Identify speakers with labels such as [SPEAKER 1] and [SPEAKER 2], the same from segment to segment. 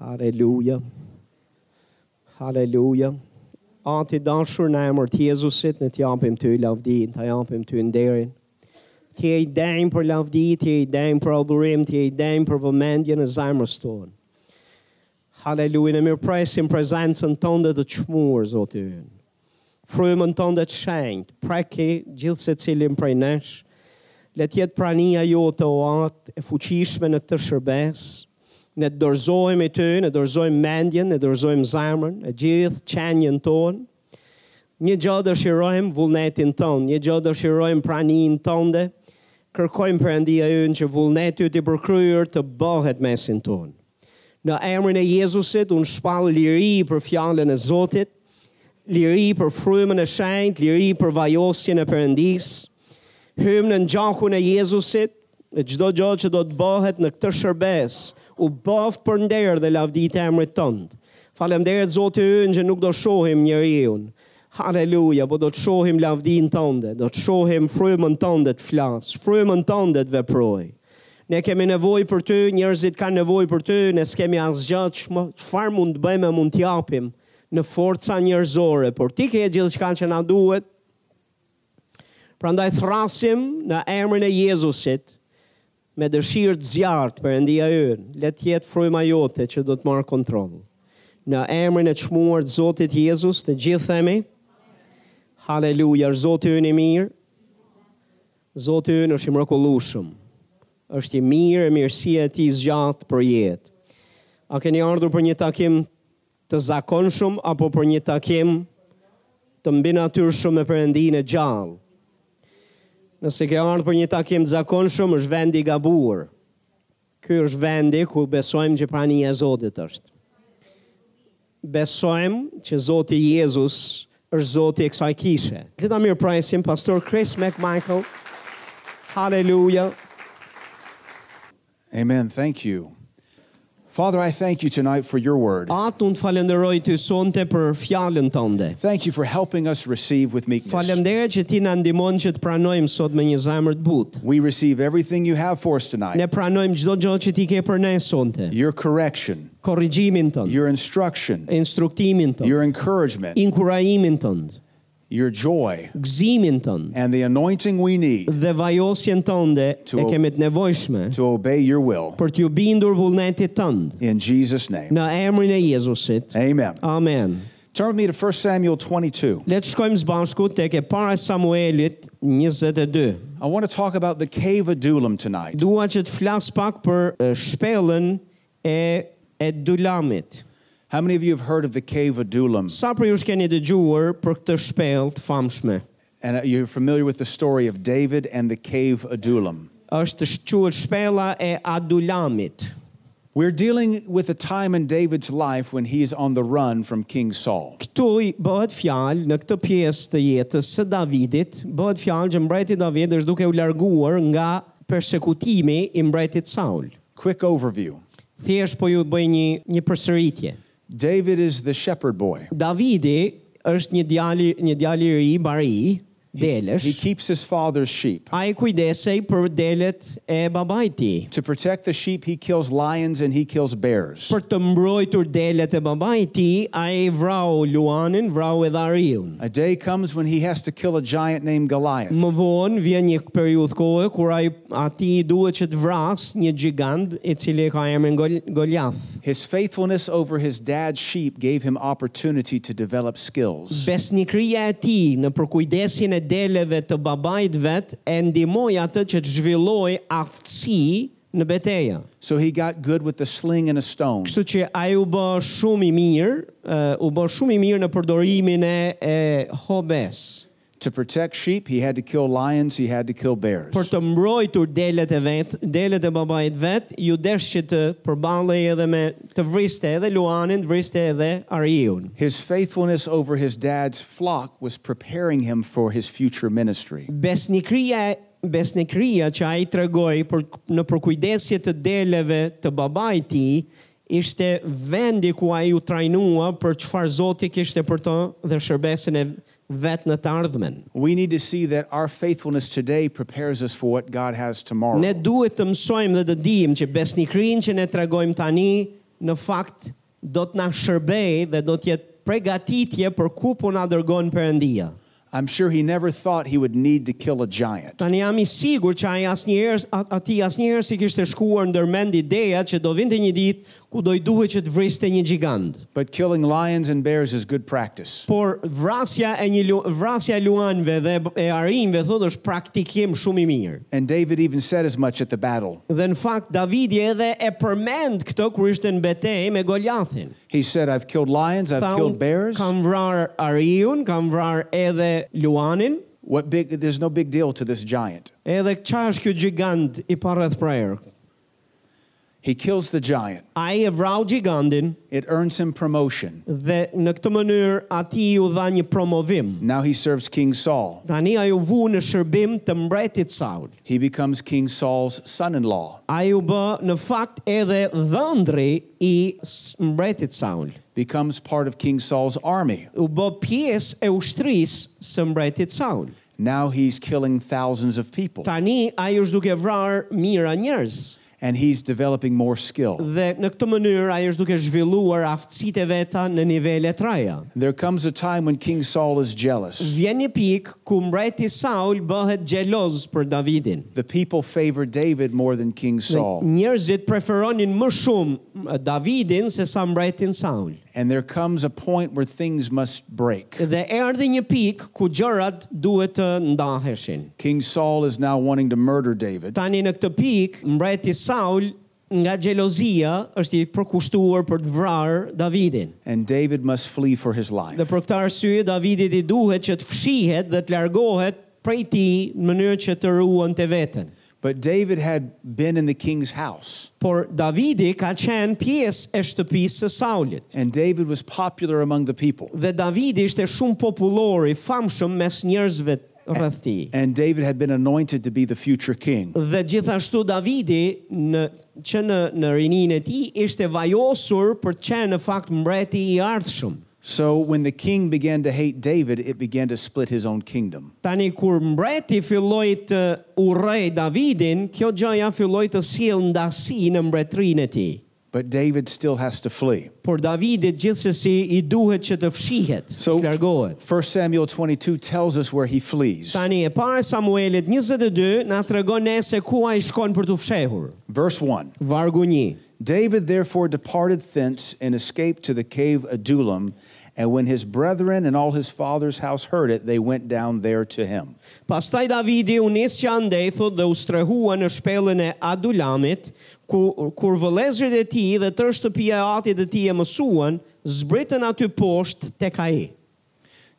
[SPEAKER 1] Haleluja. Haleluja. Ati dashur në emër të Jezusit, ne t'japim ty lavdin, të japim ty nderin. Ti e i dajmë për lavdi, ti e i dajmë për adhurim, ti e i dajmë për vëmendje në zemrës tonë. Haleluja, në mirë presim prezencën tonë dhe të qmurë, Zotë ynë. Frymën tonë dhe të shenjtë, preki gjithë se cilin prej nesh, le tjetë prania jo të oatë e fuqishme në këtë shërbesë, ne dorëzojmë i ty, ne dorëzojmë mendjen, ne dorëzojmë zemrën, e gjithë qenjen tonë. Një gjë dëshirojmë vullnetin tonë, një gjë dëshirojmë praninë tënde. Kërkojmë Perëndia ynë që vullneti yt i përkryer të bëhet mesin tonë. Në emrin e Jezusit unë shpall liri për fjalën e Zotit, liri për frymën e shenjtë, liri për vajosjen e Perëndis. Hym në gjakun e Jezusit, e çdo gjë që do të bëhet në këtë shërbes, u bëft për nder dhe lavdit e emrit tënd. Faleminderit Zoti ynë që nuk do shohim njeriu. Halleluja, po do të shohim lavdin tënde, do të shohim frymën tënde të flas, frymën tënde të veproj. Ne kemi nevojë për ty, njerëzit kanë nevojë për ty, ne s'kemi asgjë çfarë mund të bëjmë, mund të japim në forca njerëzore, por ti ke gjithçka që na duhet. Prandaj thrasim në emrin e Jezusit, me dëshirë të zjartë për endia ynë, le të jetë fryma jote që do të marrë kontroll. Në emrin e çmuar të Zotit Jezus, të gjithë themi Haleluja, Zoti ynë i mirë. Zoti ynë është i mrekullueshëm. Është i mirë, e mirësia e tij zgjat për jetë. A keni ardhur për një takim të zakonshëm apo për një takim të mbinatyrshëm me Perëndinë e gjallë? Nëse ke ardhur për një takim të zakonshëm, është vendi i gabuar. Ky është vendi ku besojmë që prania e Zotit është. Besojmë që Zoti Jezus është Zoti i kësaj kishe. Le ta mirëpresim pastor Chris McMichael. Hallelujah.
[SPEAKER 2] Amen. Thank you. Father, I thank you tonight for your word.
[SPEAKER 1] Atë unë të falenderoj ty sonte për fjalën tënde.
[SPEAKER 2] Thank you for helping us receive with meekness.
[SPEAKER 1] Faleminderit që ti na ndihmon që të pranojmë sot me një zemër të butë.
[SPEAKER 2] We receive everything you have for us
[SPEAKER 1] Ne
[SPEAKER 2] tonight
[SPEAKER 1] pranojmë çdo gjë që ti ke për ne sonte.
[SPEAKER 2] your correction,
[SPEAKER 1] Korrigjimin tënd,
[SPEAKER 2] your instruction,
[SPEAKER 1] instruktimin tënd,
[SPEAKER 2] your encouragement,
[SPEAKER 1] inkurajimin tënd,
[SPEAKER 2] your joy,
[SPEAKER 1] gëzimin tënd
[SPEAKER 2] and the anointing we need
[SPEAKER 1] dhe vajosjen tënde
[SPEAKER 2] To-
[SPEAKER 1] e kemi të nevojshme
[SPEAKER 2] to obey your will.
[SPEAKER 1] për t'ju bindur vullnetit tënd
[SPEAKER 2] In Jesus' name.
[SPEAKER 1] në emrin e Jezusit.
[SPEAKER 2] Amen.
[SPEAKER 1] Amen.
[SPEAKER 2] Turn with me to 1 Samuel 22.
[SPEAKER 1] Le të shkojmë së bashku tek e para e Samuelit 22.
[SPEAKER 2] I want to talk about the cave of Adullam tonight.
[SPEAKER 1] Dua që të flas pak për e, shpellën e e Dulamit.
[SPEAKER 2] How many of you have heard of the cave of Adullam?
[SPEAKER 1] Sa për ju keni dëgjuar për këtë shpellë të famshme?
[SPEAKER 2] And uh, you're familiar with the story of David and the cave of Adullam.
[SPEAKER 1] Është quhet shpella e Adulamit.
[SPEAKER 2] We're dealing with a time in David's life when he's on the run from King Saul.
[SPEAKER 1] Këtu i bëhet fjalë në këtë pjesë të jetës së Davidit, bëhet fjalë që mbreti David është duke u larguar nga persekutimi i mbretit Saul.
[SPEAKER 2] Quick overview
[SPEAKER 1] Thjesht po ju bëj një një përsëritje.
[SPEAKER 2] David is the shepherd boy.
[SPEAKER 1] Davidi është një djali një djali i ri, bari,
[SPEAKER 2] He
[SPEAKER 1] delesh.
[SPEAKER 2] keeps his father's sheep.
[SPEAKER 1] Ai kujdesej për delet e babait të tij.
[SPEAKER 2] To protect the sheep, he kills lions and he kills bears.
[SPEAKER 1] Për të mbrojtur delet e babait të tij, ai vrau Luanin, vrau edhe Ariun.
[SPEAKER 2] A day comes when he has to kill a giant named Goliath.
[SPEAKER 1] Më vonë vjen një periudhë kohë kur ai ati duhet që të vras një gjigant i cili e ka emrin Gol Goliath.
[SPEAKER 2] His faithfulness over his dad's sheep gave him opportunity to develop skills.
[SPEAKER 1] Besnikëria e tij në përkujdesin e deleve të babait vet e ndihmoi atë që të zhvilloj aftësi në betejë.
[SPEAKER 2] So he got good with the sling and a stone.
[SPEAKER 1] Kështu që ai u bë shumë i mirë, ë, u bë shumë i mirë në përdorimin e, e hobes.
[SPEAKER 2] To protect sheep, he had to kill lions, he had to kill bears.
[SPEAKER 1] Për të mbrojtur delet e vet, delet e babait vet, ju desh që të përballej edhe me të vriste edhe Luanin, të vriste edhe Ariun.
[SPEAKER 2] His faithfulness over his dad's flock was preparing him for his future ministry.
[SPEAKER 1] Besnikëria besnikëria që ai tregoi për në përkujdesje të deleve të babait të tij ishte vendi ku ai u trajnua për çfarë Zoti kishte për të dhe shërbesin e vet në të ardhmen.
[SPEAKER 2] We need to see that our faithfulness today prepares us for what God has tomorrow.
[SPEAKER 1] Ne duhet të mësojmë dhe të dijmë që besnikrin që ne tregojmë tani në fakt do të na shërbej dhe do të jetë pregatitje për ku po na dërgon Perëndia.
[SPEAKER 2] I'm sure he never thought he would need to kill a giant.
[SPEAKER 1] Tani jam i sigurt që ai asnjëherë aty asnjëherë si kishte shkuar ndërmend ideja që do vinte një ditë ku do i duhej që të vriste një gjigant.
[SPEAKER 2] But killing lions and bears is good practice.
[SPEAKER 1] Por vrasja e një lu- vrasja e luanëve dhe e arinjve thotë është praktikim shumë i mirë.
[SPEAKER 2] And David even said as much at the battle.
[SPEAKER 1] Dhe në fakt Davidi edhe e përmend këtë kur ishte në betejë me Goliathin.
[SPEAKER 2] He said, I've killed lions, I've
[SPEAKER 1] Tha,
[SPEAKER 2] killed
[SPEAKER 1] "Unë
[SPEAKER 2] bears.
[SPEAKER 1] Kam vrarë Ariun, kam vrarë edhe Luanin,
[SPEAKER 2] What big there's no big deal to this giant.
[SPEAKER 1] edhe çfarë është ky gjigant i parreth prayer.
[SPEAKER 2] He kills the giant.
[SPEAKER 1] Ai e vrau gigantin
[SPEAKER 2] It earns him promotion.
[SPEAKER 1] dhe në këtë mënyrë ati u dha një promovim.
[SPEAKER 2] Now he serves King Saul.
[SPEAKER 1] Tani ai u vu në shërbim të mbretit Saul.
[SPEAKER 2] He becomes King Saul's son-in-law
[SPEAKER 1] Ai u bë në fakt edhe dhëndri i s- mbretit Saul.
[SPEAKER 2] becomes part of King Saul's army.
[SPEAKER 1] U bë pjesë e ushtrisë së mbretit Saul.
[SPEAKER 2] Now he's killing thousands of people
[SPEAKER 1] Tani ai është duke vrarë mira njerëz.
[SPEAKER 2] and he's developing more skill.
[SPEAKER 1] Dhe në këtë mënyrë ai është duke zhvilluar aftësitë e veta në nivele të reja.
[SPEAKER 2] There comes a time when King Saul is jealous.
[SPEAKER 1] Vjen një pikë ku mbreti Saul bëhet xheloz për Davidin.
[SPEAKER 2] The people favor David more than King Saul.
[SPEAKER 1] Njerëzit preferonin më shumë Davidin se sa mbretin Saul.
[SPEAKER 2] And there comes a point where things must break.
[SPEAKER 1] Dhe erdhi një pikë ku gjërat duhet të ndaheshin.
[SPEAKER 2] King Saul is now wanting to murder David.
[SPEAKER 1] Tani në këtë pikë mbreti Saul nga xhelozia është i përkushtuar për të vrarë Davidin.
[SPEAKER 2] and David must flee for his life.
[SPEAKER 1] Dhe për këtë arsye Davidit i duhet që të fshihet dhe të largohet prej tij në mënyrë që të ruan të veten.
[SPEAKER 2] But David had been in the king's house,
[SPEAKER 1] Por Davidi ka qenë pjesë e shtëpisë së Saulit.
[SPEAKER 2] and David was popular among the people.
[SPEAKER 1] Dhe Davidi ishte shumë popullor, i famshëm mes njerëzve rreth tij.
[SPEAKER 2] And David had been anointed to be the future king.
[SPEAKER 1] Dhe gjithashtu Davidi në që në në rinin e tij ishte vajosur për të qenë në fakt mbreti i ardhshëm.
[SPEAKER 2] So when the king began to hate David, it began to split his own kingdom.
[SPEAKER 1] Tani kur mbreti filloi të urrej Davidin, kjo gjë ja filloi të sjell ndasi në mbretërinë e tij.
[SPEAKER 2] But David still has to flee.
[SPEAKER 1] Por Davidit gjithsesi i duhet që të fshihet,
[SPEAKER 2] So
[SPEAKER 1] të largohet.
[SPEAKER 2] 1 Samuel 22 tells us where he flees.
[SPEAKER 1] Tani e para e Samuelit 22 na tregon ne se ku ai shkon për të fshehur.
[SPEAKER 2] Verse 1
[SPEAKER 1] Vargu 1.
[SPEAKER 2] David therefore departed thence and escaped to the cave Adullam. And when his brethren and all his father's house heard it, they went down there to him.
[SPEAKER 1] Pastaj Davidi u nis që andej thot dhe u strehua në shpellën e Adulamit, ku, kur vëllezërit e tij dhe tërë shtëpia e atit e tij e mësuan, zbritën aty poshtë tek ai.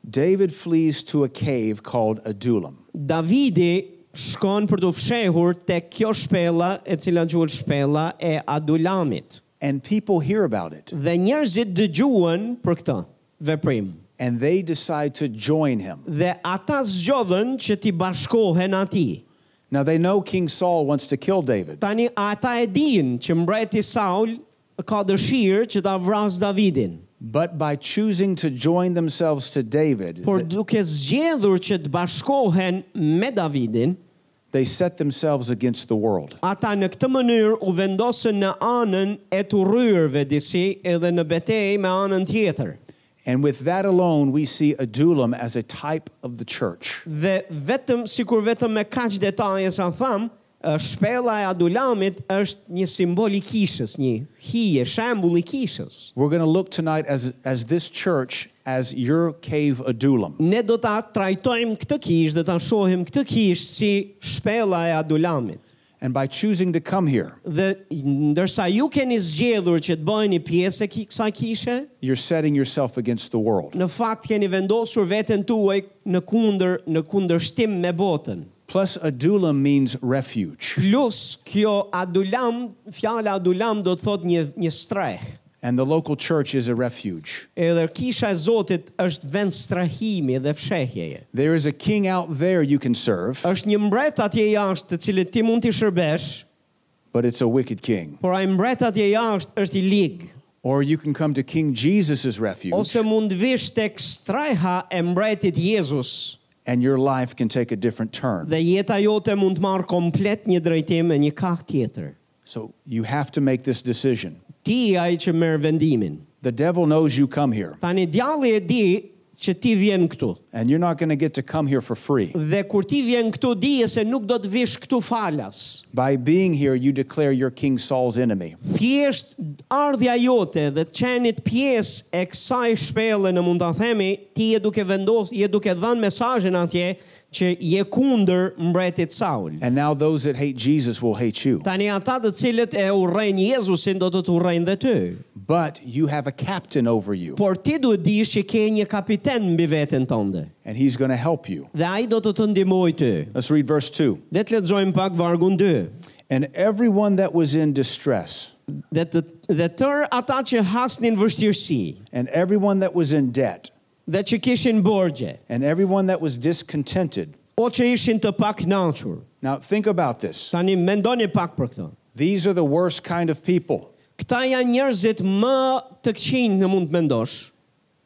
[SPEAKER 2] David flees to a cave called Adullam.
[SPEAKER 1] Davidi shkon për të fshehur tek kjo shpella e cila quhet shpella e Adulamit.
[SPEAKER 2] And people hear about it
[SPEAKER 1] Dhe njerëzit dëgjuan për këtë veprim.
[SPEAKER 2] and they decide to join him.
[SPEAKER 1] Dhe ata zgjodhen që ti bashkohen atij.
[SPEAKER 2] Now they know King Saul wants to kill David,
[SPEAKER 1] Tani ata e din që mbreti Saul ka dëshirë që ta vrasë Davidin.
[SPEAKER 2] but by choosing to join themselves to David,
[SPEAKER 1] Por
[SPEAKER 2] th-
[SPEAKER 1] duke zgjedhur që të bashkohen me Davidin,
[SPEAKER 2] they set themselves against the world.
[SPEAKER 1] ata në këtë mënyrë u vendosën në anën e të rryrëve disi edhe në betejë me anën tjetër.
[SPEAKER 2] And with that alone, we see Adullam as a type of the church.
[SPEAKER 1] Dhe vetëm, sikur vetëm me kaq detaje sa tham, ë, shpella e Adulamit është një simbol i kishës, një hije, shembull i kishës.
[SPEAKER 2] We're going to look tonight as, as this church as your cave Adullam.
[SPEAKER 1] ne do ta trajtojmë këtë kish dhe ta shohim këtë kish si shpella e Adulamit.
[SPEAKER 2] And by choosing to come here,
[SPEAKER 1] Dhe ndërsa ju keni zgjedhur që të bëheni pjesë e ki- kësaj kishe,
[SPEAKER 2] you're setting yourself against the world.
[SPEAKER 1] në fakt keni vendosur veten tuaj në kundër në kundërshtim me botën.
[SPEAKER 2] Plus, Adullam means refuge.
[SPEAKER 1] Plus kjo Adulam, fjala Adulam do të thotë një një streh.
[SPEAKER 2] And the local church is a refuge.
[SPEAKER 1] Edhe kisha e Zotit është vend strehimi dhe fshehjeje.
[SPEAKER 2] There is a king out there you can serve,
[SPEAKER 1] Është një mbret atje jashtë të cilit ti mund t'i shërbesh,
[SPEAKER 2] but it's a wicked king.
[SPEAKER 1] por ai mbret atje jashtë është i ligë.
[SPEAKER 2] Or you can come to King Jesus' refuge,
[SPEAKER 1] ose mund vish tek strajha e mbretit Jezus
[SPEAKER 2] and your life can take a different turn.
[SPEAKER 1] dhe jeta jote mund të marrë komplet një drejtim e një kah tjetër.
[SPEAKER 2] So you have to make this decision.
[SPEAKER 1] Ti je ai që merr vendimin.
[SPEAKER 2] The devil knows you come here,
[SPEAKER 1] Tani djalli e di që ti vjen këtu.
[SPEAKER 2] and you're not going to get to come here for free.
[SPEAKER 1] Dhe kur ti vjen këtu dije se nuk do të vish këtu falas.
[SPEAKER 2] By being here, you declare you're King Saul's enemy.
[SPEAKER 1] Thjesht ardhja jote dhe të qenit pjesë e kësaj shpelle në mund ta themi, ti je duke vendos, je duke dhënë mesazhin atje që je kundër mbretit Saul.
[SPEAKER 2] And now those that hate Jesus will hate you.
[SPEAKER 1] Tani ata të cilët e urrejnë Jezusin do të të urrejnë dhe ty.
[SPEAKER 2] But you have a captain over you,
[SPEAKER 1] Por ti duhet dish që ke një kapiten mbi veten tënde
[SPEAKER 2] and he's going to help you.
[SPEAKER 1] dhe ai do të të ndihmoj ty.
[SPEAKER 2] Let's read verse 2.
[SPEAKER 1] Le të lexojmë pak vargun 2.
[SPEAKER 2] And everyone that was in distress,
[SPEAKER 1] Dhe të dhe tër ata që hasnin vështirësi
[SPEAKER 2] and everyone that was in debt,
[SPEAKER 1] dhe që kishin borxhe,
[SPEAKER 2] and everyone that was discontented.
[SPEAKER 1] o që ishin të pakënaqur.
[SPEAKER 2] Now, think about this.
[SPEAKER 1] Tani mendoni pak për këtë.
[SPEAKER 2] These are the worst kind of people.
[SPEAKER 1] Këta janë njerëzit më të këqinj në mund të mendosh.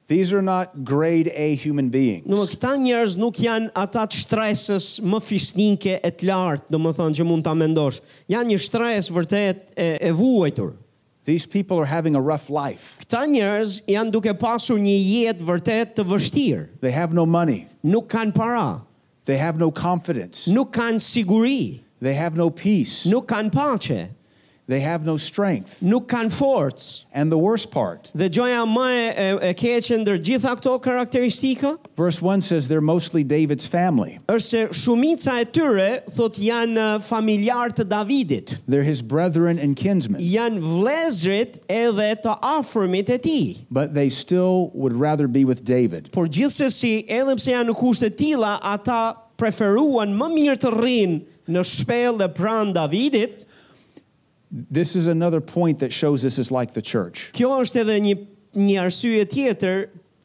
[SPEAKER 2] These are not grade A human
[SPEAKER 1] Në më
[SPEAKER 2] beings.
[SPEAKER 1] këta njerëz nuk janë ata të shtresës më fisnike e të lartë, do më thënë që mund ta mendosh. Janë një shtres vërtet e, e vuajtur.
[SPEAKER 2] These people are having a rough life.
[SPEAKER 1] Këta njerëz janë duke pasur një jetë vërtet të vështirë.
[SPEAKER 2] They have no money.
[SPEAKER 1] Nuk kanë para,
[SPEAKER 2] They have no confidence.
[SPEAKER 1] nuk kanë siguri,
[SPEAKER 2] They have no peace.
[SPEAKER 1] nuk kanë paqe,
[SPEAKER 2] They have no strength.
[SPEAKER 1] nuk kanë forcë.
[SPEAKER 2] And the worst part,
[SPEAKER 1] Dhe gjoja më e, e- e keqe ndër gjitha këto karakteristika
[SPEAKER 2] verse 1 says they're mostly David's family.
[SPEAKER 1] është se shumica e tyre thot janë eh, familjar të Davidit,
[SPEAKER 2] They're his brethren and kinsmen.
[SPEAKER 1] janë vlezrit edhe të afërmit e tij.
[SPEAKER 2] But they still would rather be with David.
[SPEAKER 1] Por gjithsesi, edhe pse janë në kushte të tilla, ata preferuan më mirë të rrinë në shpellë dhe pranë Davidit.
[SPEAKER 2] This is another point that shows this is like the church.
[SPEAKER 1] Kjo është edhe një një arsye tjetër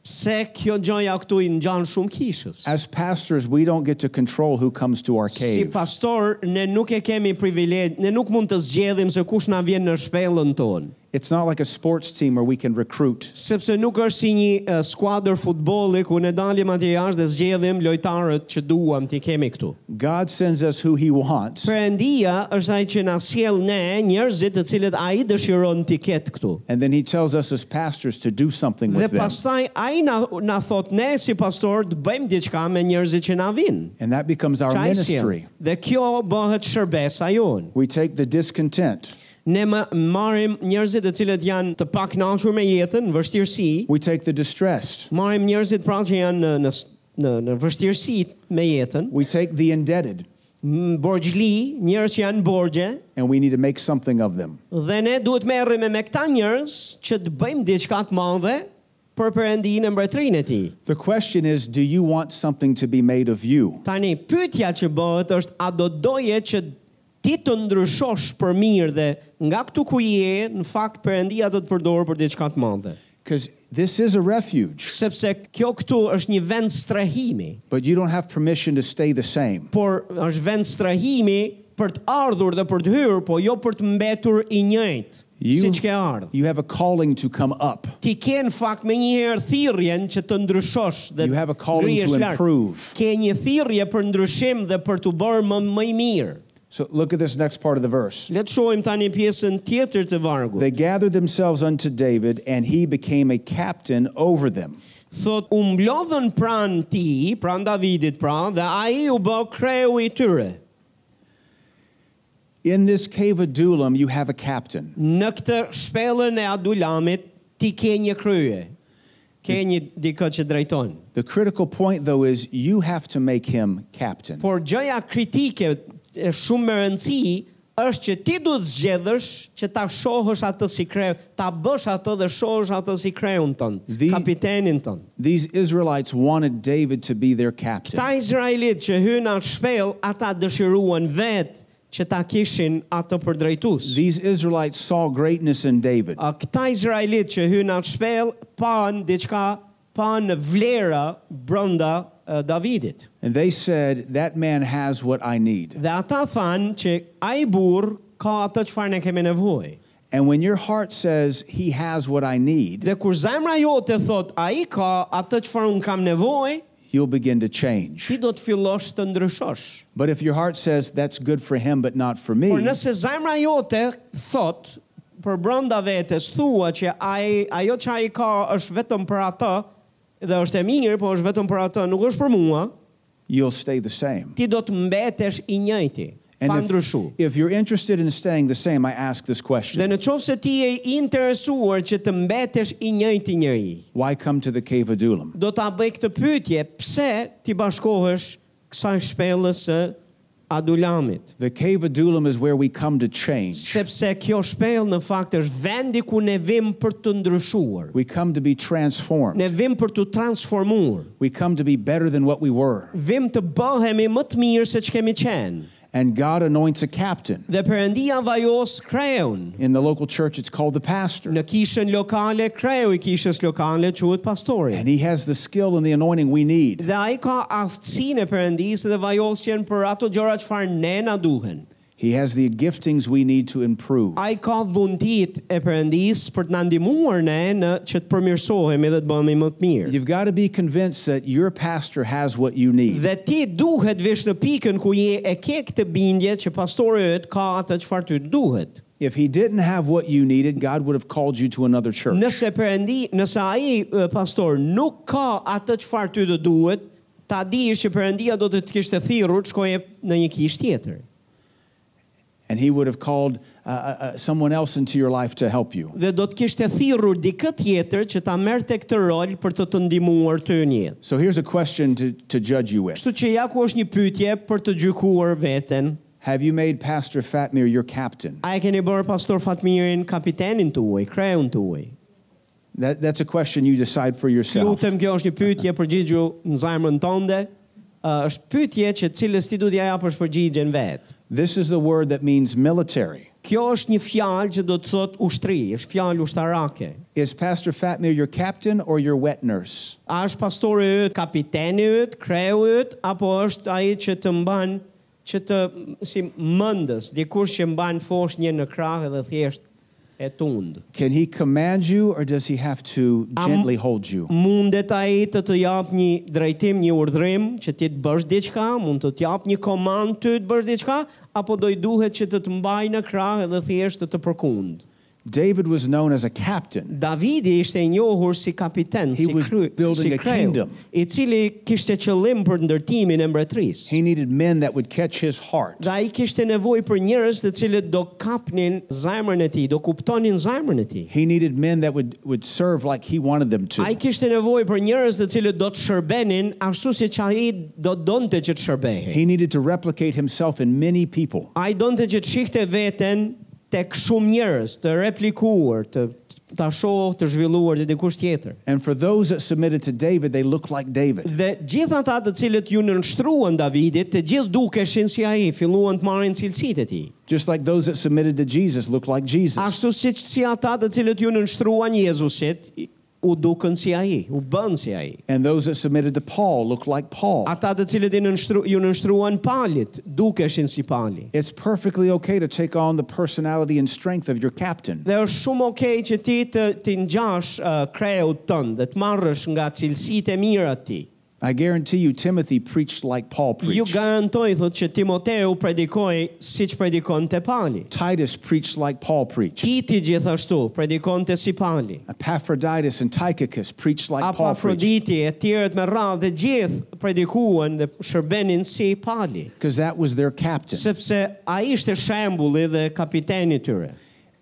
[SPEAKER 1] pse kjo gjoja këtu i ngjan shumë kishës.
[SPEAKER 2] As pastors, we don't get to control who comes to our
[SPEAKER 1] Si
[SPEAKER 2] cave.
[SPEAKER 1] pastor, ne nuk e kemi privilegj, ne nuk mund të zgjedhim se kush na vjen në shpellën tonë.
[SPEAKER 2] It's not like a sports team where we can recruit.
[SPEAKER 1] sepse nuk është si një uh, skuadër futbolli ku ne dalim atje jashtë dhe zgjedhim lojtarët që duam t'i kemi këtu.
[SPEAKER 2] God sends us who He wants,
[SPEAKER 1] Perëndia është ai që na sjell ne njerëzit të cilët ai dëshiron t'i ketë këtu.
[SPEAKER 2] and then He tells us as pastors to do something
[SPEAKER 1] Dhe
[SPEAKER 2] with them.
[SPEAKER 1] pastaj ai na na thot ne si pastor të bëjmë diçka me njerëzit që na vinë.
[SPEAKER 2] And that becomes our
[SPEAKER 1] Që ai sjell.
[SPEAKER 2] ministry.
[SPEAKER 1] Dhe kjo bëhet shërbesa jonë.
[SPEAKER 2] We take the discontent,
[SPEAKER 1] Ne më marrim njerëzit të cilët janë të pakënaqur me jetën, në vështirësi,
[SPEAKER 2] we take the distressed,
[SPEAKER 1] marrim njerëzit pra që janë në në në, në vështirësi me jetën.
[SPEAKER 2] we take the indebted,
[SPEAKER 1] m- borxhli, njerëz që janë borxhe
[SPEAKER 2] and we need to make something of them.
[SPEAKER 1] dhe ne duhet merrem me këta njerëz që të bëjmë diçka të madhe për Perëndinë e mbretërinë e tij.
[SPEAKER 2] The question is do you want something to be made of you?
[SPEAKER 1] Tani pyetja që bëhet është a do doje që ti të ndryshosh për mirë dhe nga këtu ku je, në fakt Perëndia do të përdor për diçka të madhe.
[SPEAKER 2] Because this is a refuge,
[SPEAKER 1] Sepse kjo këtu është një vend strehimi,
[SPEAKER 2] but you don't have permission to stay the same.
[SPEAKER 1] por është vend strehimi për të ardhur dhe për të hyrë, po jo për të mbetur i njëjtë, siç ke ardhur.
[SPEAKER 2] you have a calling to come up.
[SPEAKER 1] ti ke në fakt me një herë thirrjen që të ndryshosh dhe
[SPEAKER 2] You have a calling
[SPEAKER 1] rriesh
[SPEAKER 2] to
[SPEAKER 1] larg.
[SPEAKER 2] improve.
[SPEAKER 1] Ke një thirrje për ndryshim dhe për të bërë më më i mirë.
[SPEAKER 2] So look at this next part of the verse.
[SPEAKER 1] Le të shohim tani pjesën tjetër të vargut.
[SPEAKER 2] They gathered themselves unto David, and he became a captain over them.
[SPEAKER 1] Thot u mblodhën pran ti, pran Davidit pra, dhe ai u bë kreu i tyre.
[SPEAKER 2] In this cave of Adullam, you have a captain.
[SPEAKER 1] Në këtë shpellën e Adulamit ti ke një krye. Ke një dikë që drejton.
[SPEAKER 2] The critical point, though, is you have to make him captain.
[SPEAKER 1] Por gjëja kritike e shumë më rëndësi është që ti duhet zgjedhësh që ta shohësh atë si kreu, ta bësh atë dhe shohësh atë si kreun tënd,
[SPEAKER 2] Dhi-
[SPEAKER 1] kapitenin tënd.
[SPEAKER 2] These Israelites wanted David to be their
[SPEAKER 1] Këta
[SPEAKER 2] captain.
[SPEAKER 1] Izraelit që hynë atë shpel, ata dëshiruan vetë që ta kishin atë për drejtus.
[SPEAKER 2] These Israelites saw greatness in David.
[SPEAKER 1] A Këta Izraelit që hynë atë shpel, pan diçka, pan vlera brënda e, Davidit.
[SPEAKER 2] And they said, That man has what I need.
[SPEAKER 1] Dhe ata thanë që ai burr ka atë çfarë ne kemi nevojë.
[SPEAKER 2] And when your heart says, He has what I need,
[SPEAKER 1] Dhe kur zemra jote thot, a i ka atë që farë unë kam nevoj,
[SPEAKER 2] you'll begin to change.
[SPEAKER 1] ti do të fillosh të ndryshosh.
[SPEAKER 2] But if your heart says, That's good for him, but not for
[SPEAKER 1] Por
[SPEAKER 2] me,
[SPEAKER 1] nëse zemra jote thot, për brënda vetës thua që ai, ajo që ai ka është vetëm për atë, dhe është e mirë, po është vetëm për atë, nuk është për mua,
[SPEAKER 2] you'll stay the same.
[SPEAKER 1] ti do të mbetesh i njëjti, pa ndryshu.
[SPEAKER 2] if, if you're interested in staying the same, I ask this
[SPEAKER 1] Dhe
[SPEAKER 2] question
[SPEAKER 1] në qovë se ti e interesuar që të mbetesh i njëjti njëri,
[SPEAKER 2] Why come to the cave Adullam?
[SPEAKER 1] do të bëj këtë pytje, pse ti bashkohesh kësaj shpellës së adulamit?
[SPEAKER 2] The cave Adullam is where we come to change.
[SPEAKER 1] Sepse kjo shpellë në fakt është vendi ku ne vim për të ndryshuar.
[SPEAKER 2] We come to be transformed.
[SPEAKER 1] Ne vim për të transformuar.
[SPEAKER 2] We come to be better than what we were.
[SPEAKER 1] Vim të bëhemi më të mirë se që kemi qenë.
[SPEAKER 2] And God anoints a captain.
[SPEAKER 1] Dhe përëndia vajos kreun.
[SPEAKER 2] In the local church, it's called the pastor.
[SPEAKER 1] Në kishën lokale, kreu i kishës lokale quhet pastori.
[SPEAKER 2] And he has the skill and the anointing we need.
[SPEAKER 1] Dhe ai ka aftësinë e Perëndisë dhe vajosjen për ato gjëra çfarë ne na duhen.
[SPEAKER 2] He has the giftings we need to improve.
[SPEAKER 1] Ai ka dhuntit e Perëndisë për të na ndihmuar ne në që të përmirësohemi dhe të bëhemi më të mirë.
[SPEAKER 2] You've got to be convinced that your pastor has what you need.
[SPEAKER 1] Dhe ti duhet vish në pikën ku je e ke këtë bindje që pastori yt ka atë çfarë ty duhet.
[SPEAKER 2] If he didn't have what you needed, God would have called you to another church.
[SPEAKER 1] Nëse Perëndi, nëse ai e, pastor nuk ka atë çfarë ty të duhet, ta dish që Perëndia do të të kishte thirrur të shkoje në një kishë tjetër.
[SPEAKER 2] And he would have called uh, uh, uh, someone else into your life to help you.
[SPEAKER 1] dhe do të kishte thirrur dikë tjetër që ta merrte këtë rol për të të ndihmuar ty në jetë.
[SPEAKER 2] So here's a question to, to judge you with
[SPEAKER 1] Kështu që ja ku është një pyetje për të gjykuar veten.
[SPEAKER 2] Have you made Pastor Fatmir your captain?
[SPEAKER 1] A e keni bërë pastor Fatmirin kapitenin tuaj, kreun tuaj?
[SPEAKER 2] That, that's a question you decide for yourself.
[SPEAKER 1] Lutem kjo është një pyetje përgjigju në zemrën tënde. Ë, është pyetje që cilës ti do t'ja japësh përgjigjen vetë.
[SPEAKER 2] This is the word that means military.
[SPEAKER 1] Kjo është një fjalë që do të thotë ushtri, është fjalë ushtarake.
[SPEAKER 2] Is Pastor Fatmir your captain or your wet nurse?
[SPEAKER 1] A është pastori yt, kapiteni yt, kreu yt, apo është ai që të mban që të si mendës, dikush që mban fosh një në krah dhe thjesht e tund.
[SPEAKER 2] Can he command you or does he have to
[SPEAKER 1] Am-
[SPEAKER 2] gently hold you?
[SPEAKER 1] Mundet ai të të jap një drejtim, një urdhrim që ti të bësh diçka, mund të të jap një komandë ty të bësh diçka, apo do i duhet që të të mbaj në krah dhe thjesht të të përkund.
[SPEAKER 2] David was known as a captain.
[SPEAKER 1] Davidi ishte i njohur si kapiten,
[SPEAKER 2] He
[SPEAKER 1] si
[SPEAKER 2] was
[SPEAKER 1] kry,
[SPEAKER 2] building
[SPEAKER 1] si
[SPEAKER 2] a
[SPEAKER 1] kreu,
[SPEAKER 2] kingdom.
[SPEAKER 1] i cili kishte qëllim për ndërtimin e mbretërisë.
[SPEAKER 2] He needed men that would catch his heart.
[SPEAKER 1] Dhe ai kishte nevojë për njerëz të cilët do kapnin zemrën e tij, do kuptonin zemrën e tij.
[SPEAKER 2] He needed men that would, would serve like he wanted them to.
[SPEAKER 1] Ai kishte nevojë për njerëz të cilët do të shërbenin ashtu siç ai do donte që të shërbehej.
[SPEAKER 2] He needed to replicate himself in many people.
[SPEAKER 1] Ai donte që të shihte veten tek shumë njerëz, të replikuar, të ta shohë, të zhvilluar te dikush tjetër.
[SPEAKER 2] And for those that submitted to David, they looked like David.
[SPEAKER 1] Dhe gjithë ata të cilët ju nënshtruan Davidit, të gjithë dukeshin si ai, filluan të marrin cilësitë e tij.
[SPEAKER 2] Just like those that submitted to Jesus looked like Jesus.
[SPEAKER 1] Ashtu si, si ata të cilët ju nënshtruan Jezusit, i- u dukën si ai, u bën si ai.
[SPEAKER 2] And those that submitted to Paul looked like Paul.
[SPEAKER 1] Ata të cilët i nënshtru, ju nënshtruan palit, dukeshin si pali.
[SPEAKER 2] It's perfectly okay to take on the personality and strength of your captain.
[SPEAKER 1] Dhe është shumë okej që ti të ti ngjash uh, kreut tënd dhe të marrësh nga cilësitë e mira të tij.
[SPEAKER 2] I guarantee you, Timothy preached like Paul
[SPEAKER 1] Ju
[SPEAKER 2] preached.
[SPEAKER 1] garantoj thotë që Timoteu predikoi siç predikonte Pali.
[SPEAKER 2] Titus preached like Paul preached.
[SPEAKER 1] Titi gjithashtu predikonte si Pali.
[SPEAKER 2] Epaphroditus and Tychicus preached like Paul preached.
[SPEAKER 1] Apafroditi e tjerët me radhë dhe gjithë predikuan dhe shërbenin si Pali.
[SPEAKER 2] Because that was their captain.
[SPEAKER 1] sepse a ishte shembulli dhe kapiteni tyre.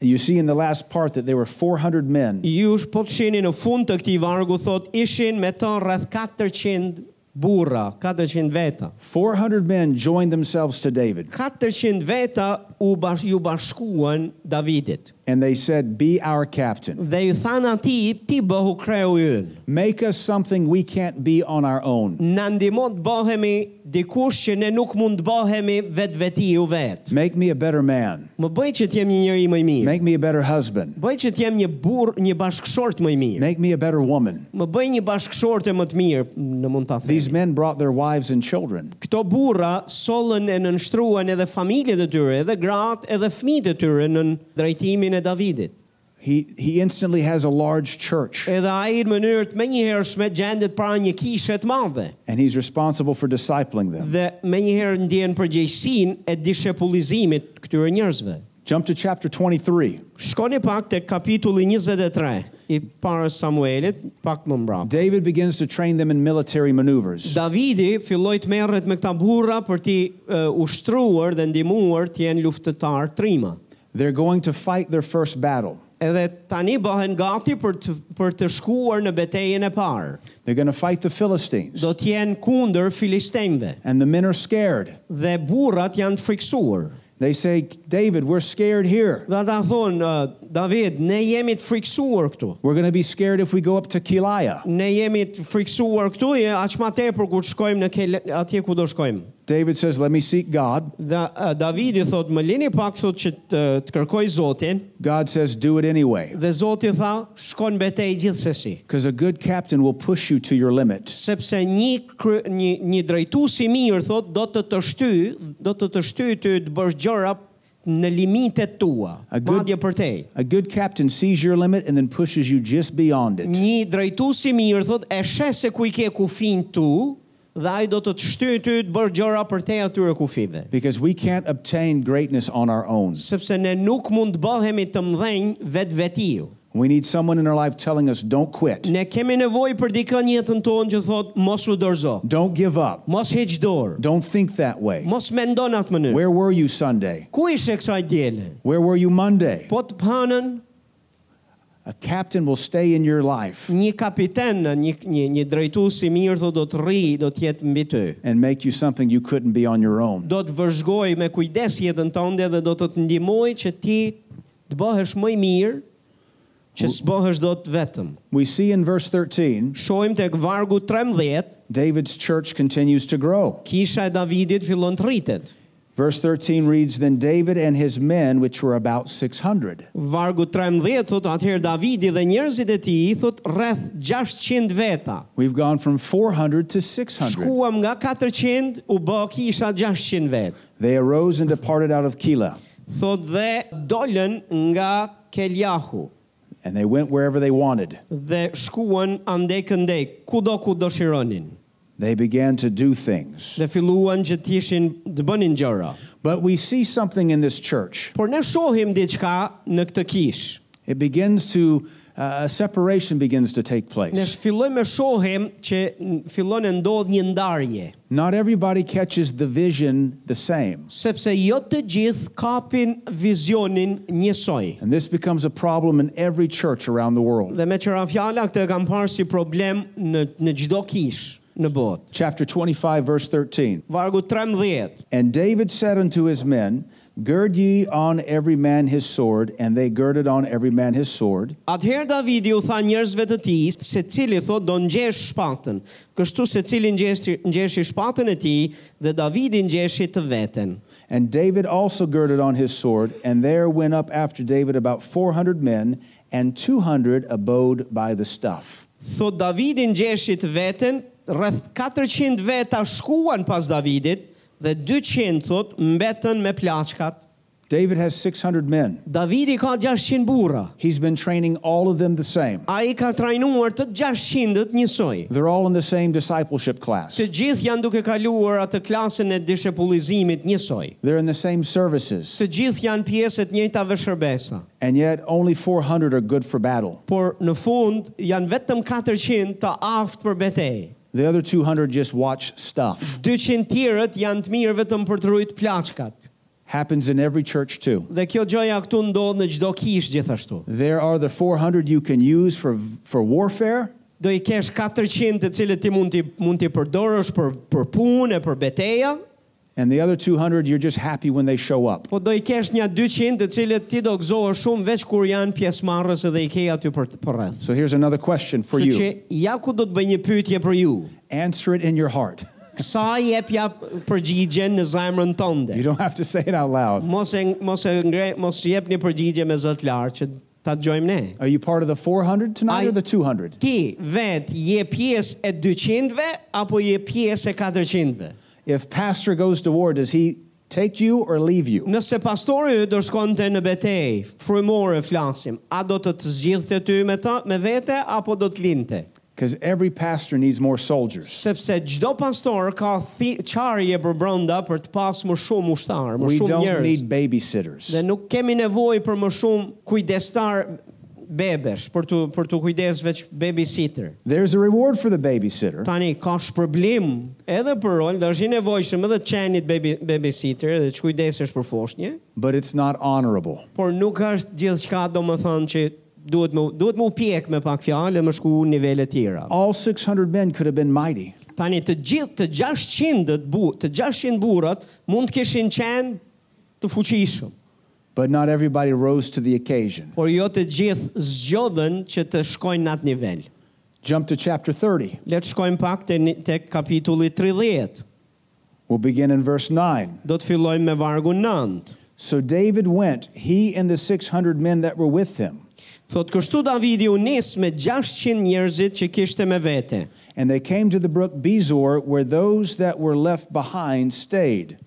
[SPEAKER 2] You see in the last part that there were 400 men.
[SPEAKER 1] Ju sh- po të shini në fund të këtij vargu thot ishin me të rreth 400 burra, 400 veta.
[SPEAKER 2] 400 men joined themselves to David.
[SPEAKER 1] 400 veta u bash, ju bashkuan Davidit.
[SPEAKER 2] And they said, Be our captain.
[SPEAKER 1] Dhe ju than atij ti bëhu kreu ynë.
[SPEAKER 2] Make us something we can't be on our own.
[SPEAKER 1] Na ndihmo të bëhemi dikush që ne nuk mund të bëhemi vetë veti ju vetë.
[SPEAKER 2] Make me a better man.
[SPEAKER 1] Më bëj që t'jem një njeri më i mirë.
[SPEAKER 2] Make me a better husband.
[SPEAKER 1] Bëj që t'jem një burr, një bashkëshort më i mirë.
[SPEAKER 2] Make me a better woman.
[SPEAKER 1] Më bëj një bashkëshorte më të mirë, në mund ta themi.
[SPEAKER 2] These men brought their wives and children.
[SPEAKER 1] Këto burra sollën e nënshtruan edhe familjet e tyre, edhe gratë, edhe fëmijët e tyre në drejtimin e Davidit.
[SPEAKER 2] He, he instantly has a large church,
[SPEAKER 1] Edhe ai në mënyrë të menjëhershme gjendet para një kishe të madhe
[SPEAKER 2] and he's responsible for discipling them.
[SPEAKER 1] dhe menjëherë ndjen përgjegjësinë e dishepullizimit këtyre njerëzve.
[SPEAKER 2] Jump to chapter 23.
[SPEAKER 1] Shkoni pak tek kapitulli 23 i parës Samuelit, pak më mbrapa.
[SPEAKER 2] David begins to train them in military maneuvers.
[SPEAKER 1] Davidi filloi të merret me këta burra për t'i uh, ushtruar dhe ndihmuar të jenë luftëtar trima.
[SPEAKER 2] They're going to fight their first battle.
[SPEAKER 1] Edhe tani bëhen gati për të, për të shkuar në betejën e parë.
[SPEAKER 2] They're going to fight the Philistines.
[SPEAKER 1] Do t'jenë kundër filistenve
[SPEAKER 2] And the men are scared.
[SPEAKER 1] dhe burrat janë të friksuar.
[SPEAKER 2] They say, David, we're scared here.
[SPEAKER 1] Dhe ata thonë, uh, David, ne jemi të friksuar këtu.
[SPEAKER 2] We're going to be scared if we go up to Keilah.
[SPEAKER 1] Ne jemi të friksuar këtu, e aq më tepër kur shkojmë në kele, atje ku do shkojmë.
[SPEAKER 2] David says, Let me seek God.
[SPEAKER 1] Dhe uh, Davidi thot, më lini pak thot që të, të kërkoj Zotin,
[SPEAKER 2] God says, Do it anyway.
[SPEAKER 1] dhe Zoti tha, shkon betej gjithsesi.
[SPEAKER 2] Because a good captain will push you to your limits.
[SPEAKER 1] Sepse një kry, një, një drejtues i mirë thot, do të të shty, do të të shty ty të bësh gjëra në limitet tua,
[SPEAKER 2] A good-
[SPEAKER 1] madje për te.
[SPEAKER 2] A good captain sees your limit and then pushes you just beyond it.
[SPEAKER 1] Një drejtues i mirë thot, e sheh se ku i ke kufin tu, dhe ai do të të shtyjë ty të bërë gjëra për te atyre kufive.
[SPEAKER 2] Because we can't obtain greatness on our own.
[SPEAKER 1] Sepse ne nuk mund të bëhemi të mdhenj vetë vetiu.
[SPEAKER 2] We need someone in our life telling us, Don't quit,
[SPEAKER 1] Ne kemi nevojë për dikën jetën tonë që thot mos u dorzo,
[SPEAKER 2] don't give up,
[SPEAKER 1] mos heq dorë,
[SPEAKER 2] don't think that way.
[SPEAKER 1] mos mendo në atë mënyrë.
[SPEAKER 2] Where were you Sunday?
[SPEAKER 1] Ku ishe kësaj diele?
[SPEAKER 2] Where were you Monday?
[SPEAKER 1] Po të panën
[SPEAKER 2] A captain will stay in your life
[SPEAKER 1] një kapiten, një një një drejtues i mirë thot do të rri, do të jetë mbi ty.
[SPEAKER 2] and make you something you couldn't be on your own.
[SPEAKER 1] Do të vëzhgoj me kujdes jetën tënde dhe do të të ndihmoj që ti të bëhesh më i mirë, që s'bëhesh dot vetëm.
[SPEAKER 2] We see in verse 13,
[SPEAKER 1] Shohim tek vargu 13,
[SPEAKER 2] David's church continues to grow.
[SPEAKER 1] kisha e Davidit fillon të rritet.
[SPEAKER 2] Verse 13 reads, Then David and his men, which were about 600.
[SPEAKER 1] Vargu 13 thot atëherë Davidi dhe njerëzit e tij thot rreth 600 veta.
[SPEAKER 2] We've gone from 400 to 600.
[SPEAKER 1] Shkuam nga 400 u bë kisha 600 vet.
[SPEAKER 2] They arose and departed out of Keilah,
[SPEAKER 1] Thot dhe dolën nga Keljahu
[SPEAKER 2] and they went wherever they wanted.
[SPEAKER 1] dhe shkuan andej këndej, kudo ku dëshironin.
[SPEAKER 2] They began to do things.
[SPEAKER 1] Dhe filluan që të ishin të bënin gjëra.
[SPEAKER 2] But we see something in this church.
[SPEAKER 1] Por ne shohim diçka në këtë kish.
[SPEAKER 2] It begins to, uh, a separation begins to take
[SPEAKER 1] Ne
[SPEAKER 2] place.
[SPEAKER 1] fillojmë e shohim që n- fillon e ndodh një ndarje,
[SPEAKER 2] Not everybody catches the vision the same.
[SPEAKER 1] sepse jo të gjithë kapin vizionin njësoj.
[SPEAKER 2] And this becomes a problem in every church around the world.
[SPEAKER 1] Dhe me qëra fjala këtë e kam parë si problem në, në gjdo kish në botë.
[SPEAKER 2] Chapter 25, verse 13.
[SPEAKER 1] Vargu 13.
[SPEAKER 2] And David said unto his men, Gird ye on every man his sword. And they girded on every man his sword.
[SPEAKER 1] Atëherë Davidi u tha njerëzve të tij se cili thot do ngjesh shpatën. Kështu se cili ngjeshi ngjeshi shpatën e tij dhe Davidi ngjeshi të veten.
[SPEAKER 2] And David also girded on his sword. And there went up after David about 400 men, and 200 abode by the stuff.
[SPEAKER 1] Thot Davidi ngjeshi të veten, rreth 400 veta shkuan pas Davidit dhe 200 thot mbetën me plaçkat.
[SPEAKER 2] David has 600 men.
[SPEAKER 1] Davidi ka 600 burra.
[SPEAKER 2] He's been training all of them the same.
[SPEAKER 1] Ai ka trajnuar të 600-të njësoj.
[SPEAKER 2] They're all in the same discipleship class.
[SPEAKER 1] Të gjithë janë duke kaluar atë klasën e dishepullizimit njësoj.
[SPEAKER 2] They're in the same services.
[SPEAKER 1] Të gjithë janë pjesë të njëjtave shërbesa.
[SPEAKER 2] And yet, only 400 are good for battle.
[SPEAKER 1] por në fund janë vetëm 400 të aftë për betejë.
[SPEAKER 2] The other 200 just watch stuff.
[SPEAKER 1] 200 tjerët janë të mirë vetëm për të rujt plaçkat.
[SPEAKER 2] Happens in every church, too.
[SPEAKER 1] Dhe kjo gjëja këtu ndodh në çdo kish gjithashtu.
[SPEAKER 2] There are the 400 you can use for, for warfare,
[SPEAKER 1] Do i kesh 400 të cilët ti mund ti mund ti përdorësh për për punë, e për betejë,
[SPEAKER 2] and the other 200 you're just happy when they show up.
[SPEAKER 1] po do i kesh një 200 të cilët ti do gëzohesh shumë veç kur janë pjesëmarrës edhe i ke aty për për rreth.
[SPEAKER 2] So here's another question for
[SPEAKER 1] Kështu që
[SPEAKER 2] you.
[SPEAKER 1] ja ku do të bëj një pyetje për ju.
[SPEAKER 2] Answer it in your heart.
[SPEAKER 1] Sa jep ja përgjigjen në zemrën tënde?
[SPEAKER 2] You don't have to say it out loud.
[SPEAKER 1] mos e mos e ngre mos jep një përgjigje me zot lart që ta dëgjojmë ne.
[SPEAKER 2] Are you part of the 400 tonight
[SPEAKER 1] I-
[SPEAKER 2] or the 200?
[SPEAKER 1] Ti vet je pjesë e 200-ve apo je pjesë e 400-ve?
[SPEAKER 2] If pastor goes to war, does he take you or leave you?
[SPEAKER 1] Nëse pastori yt do shkonte në betejë, frymore flasim, a do të të zgjidhte ty me ta me vete apo do të linte?
[SPEAKER 2] Because every pastor needs more soldiers.
[SPEAKER 1] sepse çdo pastor ka thi- qarje për brenda për të pas më shumë ushtar, më
[SPEAKER 2] We
[SPEAKER 1] shumë
[SPEAKER 2] don't
[SPEAKER 1] njerëz.
[SPEAKER 2] need babysitters.
[SPEAKER 1] Dhe nuk kemi nevojë për më shumë kujdestar bebesh për të për të kujdes veç babysitter.
[SPEAKER 2] There's a reward for the babysitter.
[SPEAKER 1] Tani ka shpërblim edhe për rol, dhe është i nevojshëm edhe të qenit baby, babysitter dhe të kujdesesh për foshnje,
[SPEAKER 2] but it's not honorable.
[SPEAKER 1] por nuk është gjithçka domethënë që duhet më duhet më u pjek me pak fjalë dhe më shku në nivele të tjera.
[SPEAKER 2] All 600 men could have been mighty,
[SPEAKER 1] Tani të gjithë të 600 të bu, të 600 burrat mund të kishin qenë të fuqishëm,
[SPEAKER 2] but not everybody rose to the occasion.
[SPEAKER 1] por jo të gjithë zgjodhen që të shkojnë në atë nivel.
[SPEAKER 2] Jump to chapter 30.
[SPEAKER 1] Le të shkojmë pak te ni- tek kapitulli 30.
[SPEAKER 2] We'll begin in verse 9.
[SPEAKER 1] Do të fillojmë me vargu 9.
[SPEAKER 2] So David went, he and the 600 men that were with him,
[SPEAKER 1] Thot kështu Davidi u nis me 600 njerëzit që kishte me vete.
[SPEAKER 2] and they came to the brook Bezor, where those that were left behind stayed.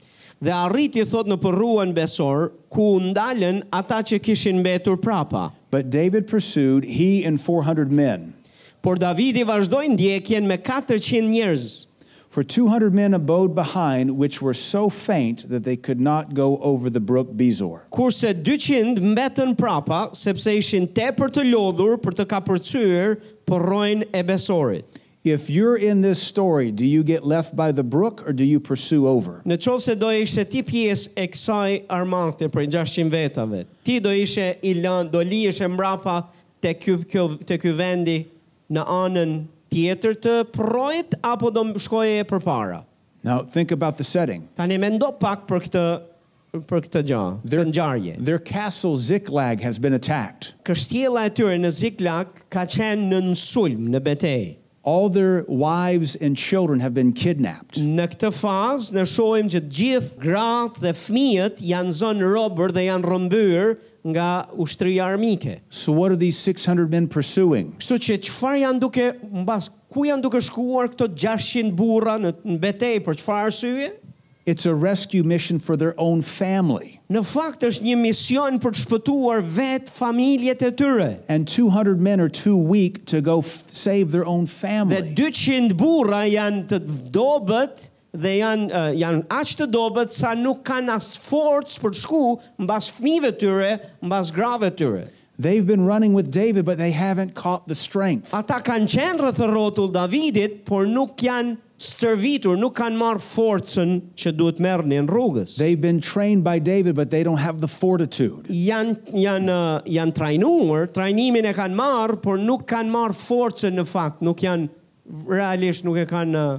[SPEAKER 1] Dhe arriti thot në përruan besor, ku u ndalën ata që kishin mbetur prapa.
[SPEAKER 2] But David pursued, he and 400 men.
[SPEAKER 1] Por Davidi vazhdoi ndjekjen me 400 njerëz.
[SPEAKER 2] For 200 men abode behind, which were so faint that they could not go over the brook Bezor.
[SPEAKER 1] kurse 200 mbetën prapa sepse ishin tepër të lodhur për të kapërcyer porrojnë e besorit.
[SPEAKER 2] If you're in this story, do you get left by the brook or do you pursue over?
[SPEAKER 1] Në qovë se do ishte ti pjesë e kësaj armate për 600 vetave, ti do ishe i lënë, do li ishe mbrapa të kjo, kjo, të kjo vendi në anën tjetër të porrojt, apo do shkoje e për para.
[SPEAKER 2] Now, think about the setting.
[SPEAKER 1] Tani me ndo pak për këtë për këtë gjë,
[SPEAKER 2] There-
[SPEAKER 1] këtë ngjarje.
[SPEAKER 2] Their castle Ziklag has been attacked.
[SPEAKER 1] Kështjela e tyre në Ziklag ka qenë në nësulm, në betejë.
[SPEAKER 2] All their wives and children have been kidnapped.
[SPEAKER 1] Në këtë fazë ne shohim që të gjithë gratë dhe fëmijët janë zënë robër dhe janë rrëmbyer nga ushtria armike.
[SPEAKER 2] So, what are these 600 men pursuing?
[SPEAKER 1] Kështu që çfarë janë duke mbas ku janë duke shkuar këto 600 burra në, në betejë për çfarë arsye?
[SPEAKER 2] It's a rescue mission for their own family.
[SPEAKER 1] Në fakt është një mision për të shpëtuar vetë familjet e tyre.
[SPEAKER 2] And 200 men are too weak to go f- save their own
[SPEAKER 1] Dhe
[SPEAKER 2] family.
[SPEAKER 1] 200 burra janë të dobët dhe janë uh, janë aq të dobët sa nuk kanë as forcë për të shku mbas fëmijëve të tyre, mbas grave të tyre.
[SPEAKER 2] They've been running with David, but they haven't caught the strength.
[SPEAKER 1] Ata kanë qenë rreth rrotull Davidit, por nuk janë stërvitur, nuk kanë marrë forcën që duhet merrnin rrugës.
[SPEAKER 2] They've been trained by David, but they don't have the fortitude.
[SPEAKER 1] janë janë uh, janë trajnuar, trajnimin e kanë marrë, por nuk kanë marrë forcën në fakt, nuk janë realisht nuk e kanë uh,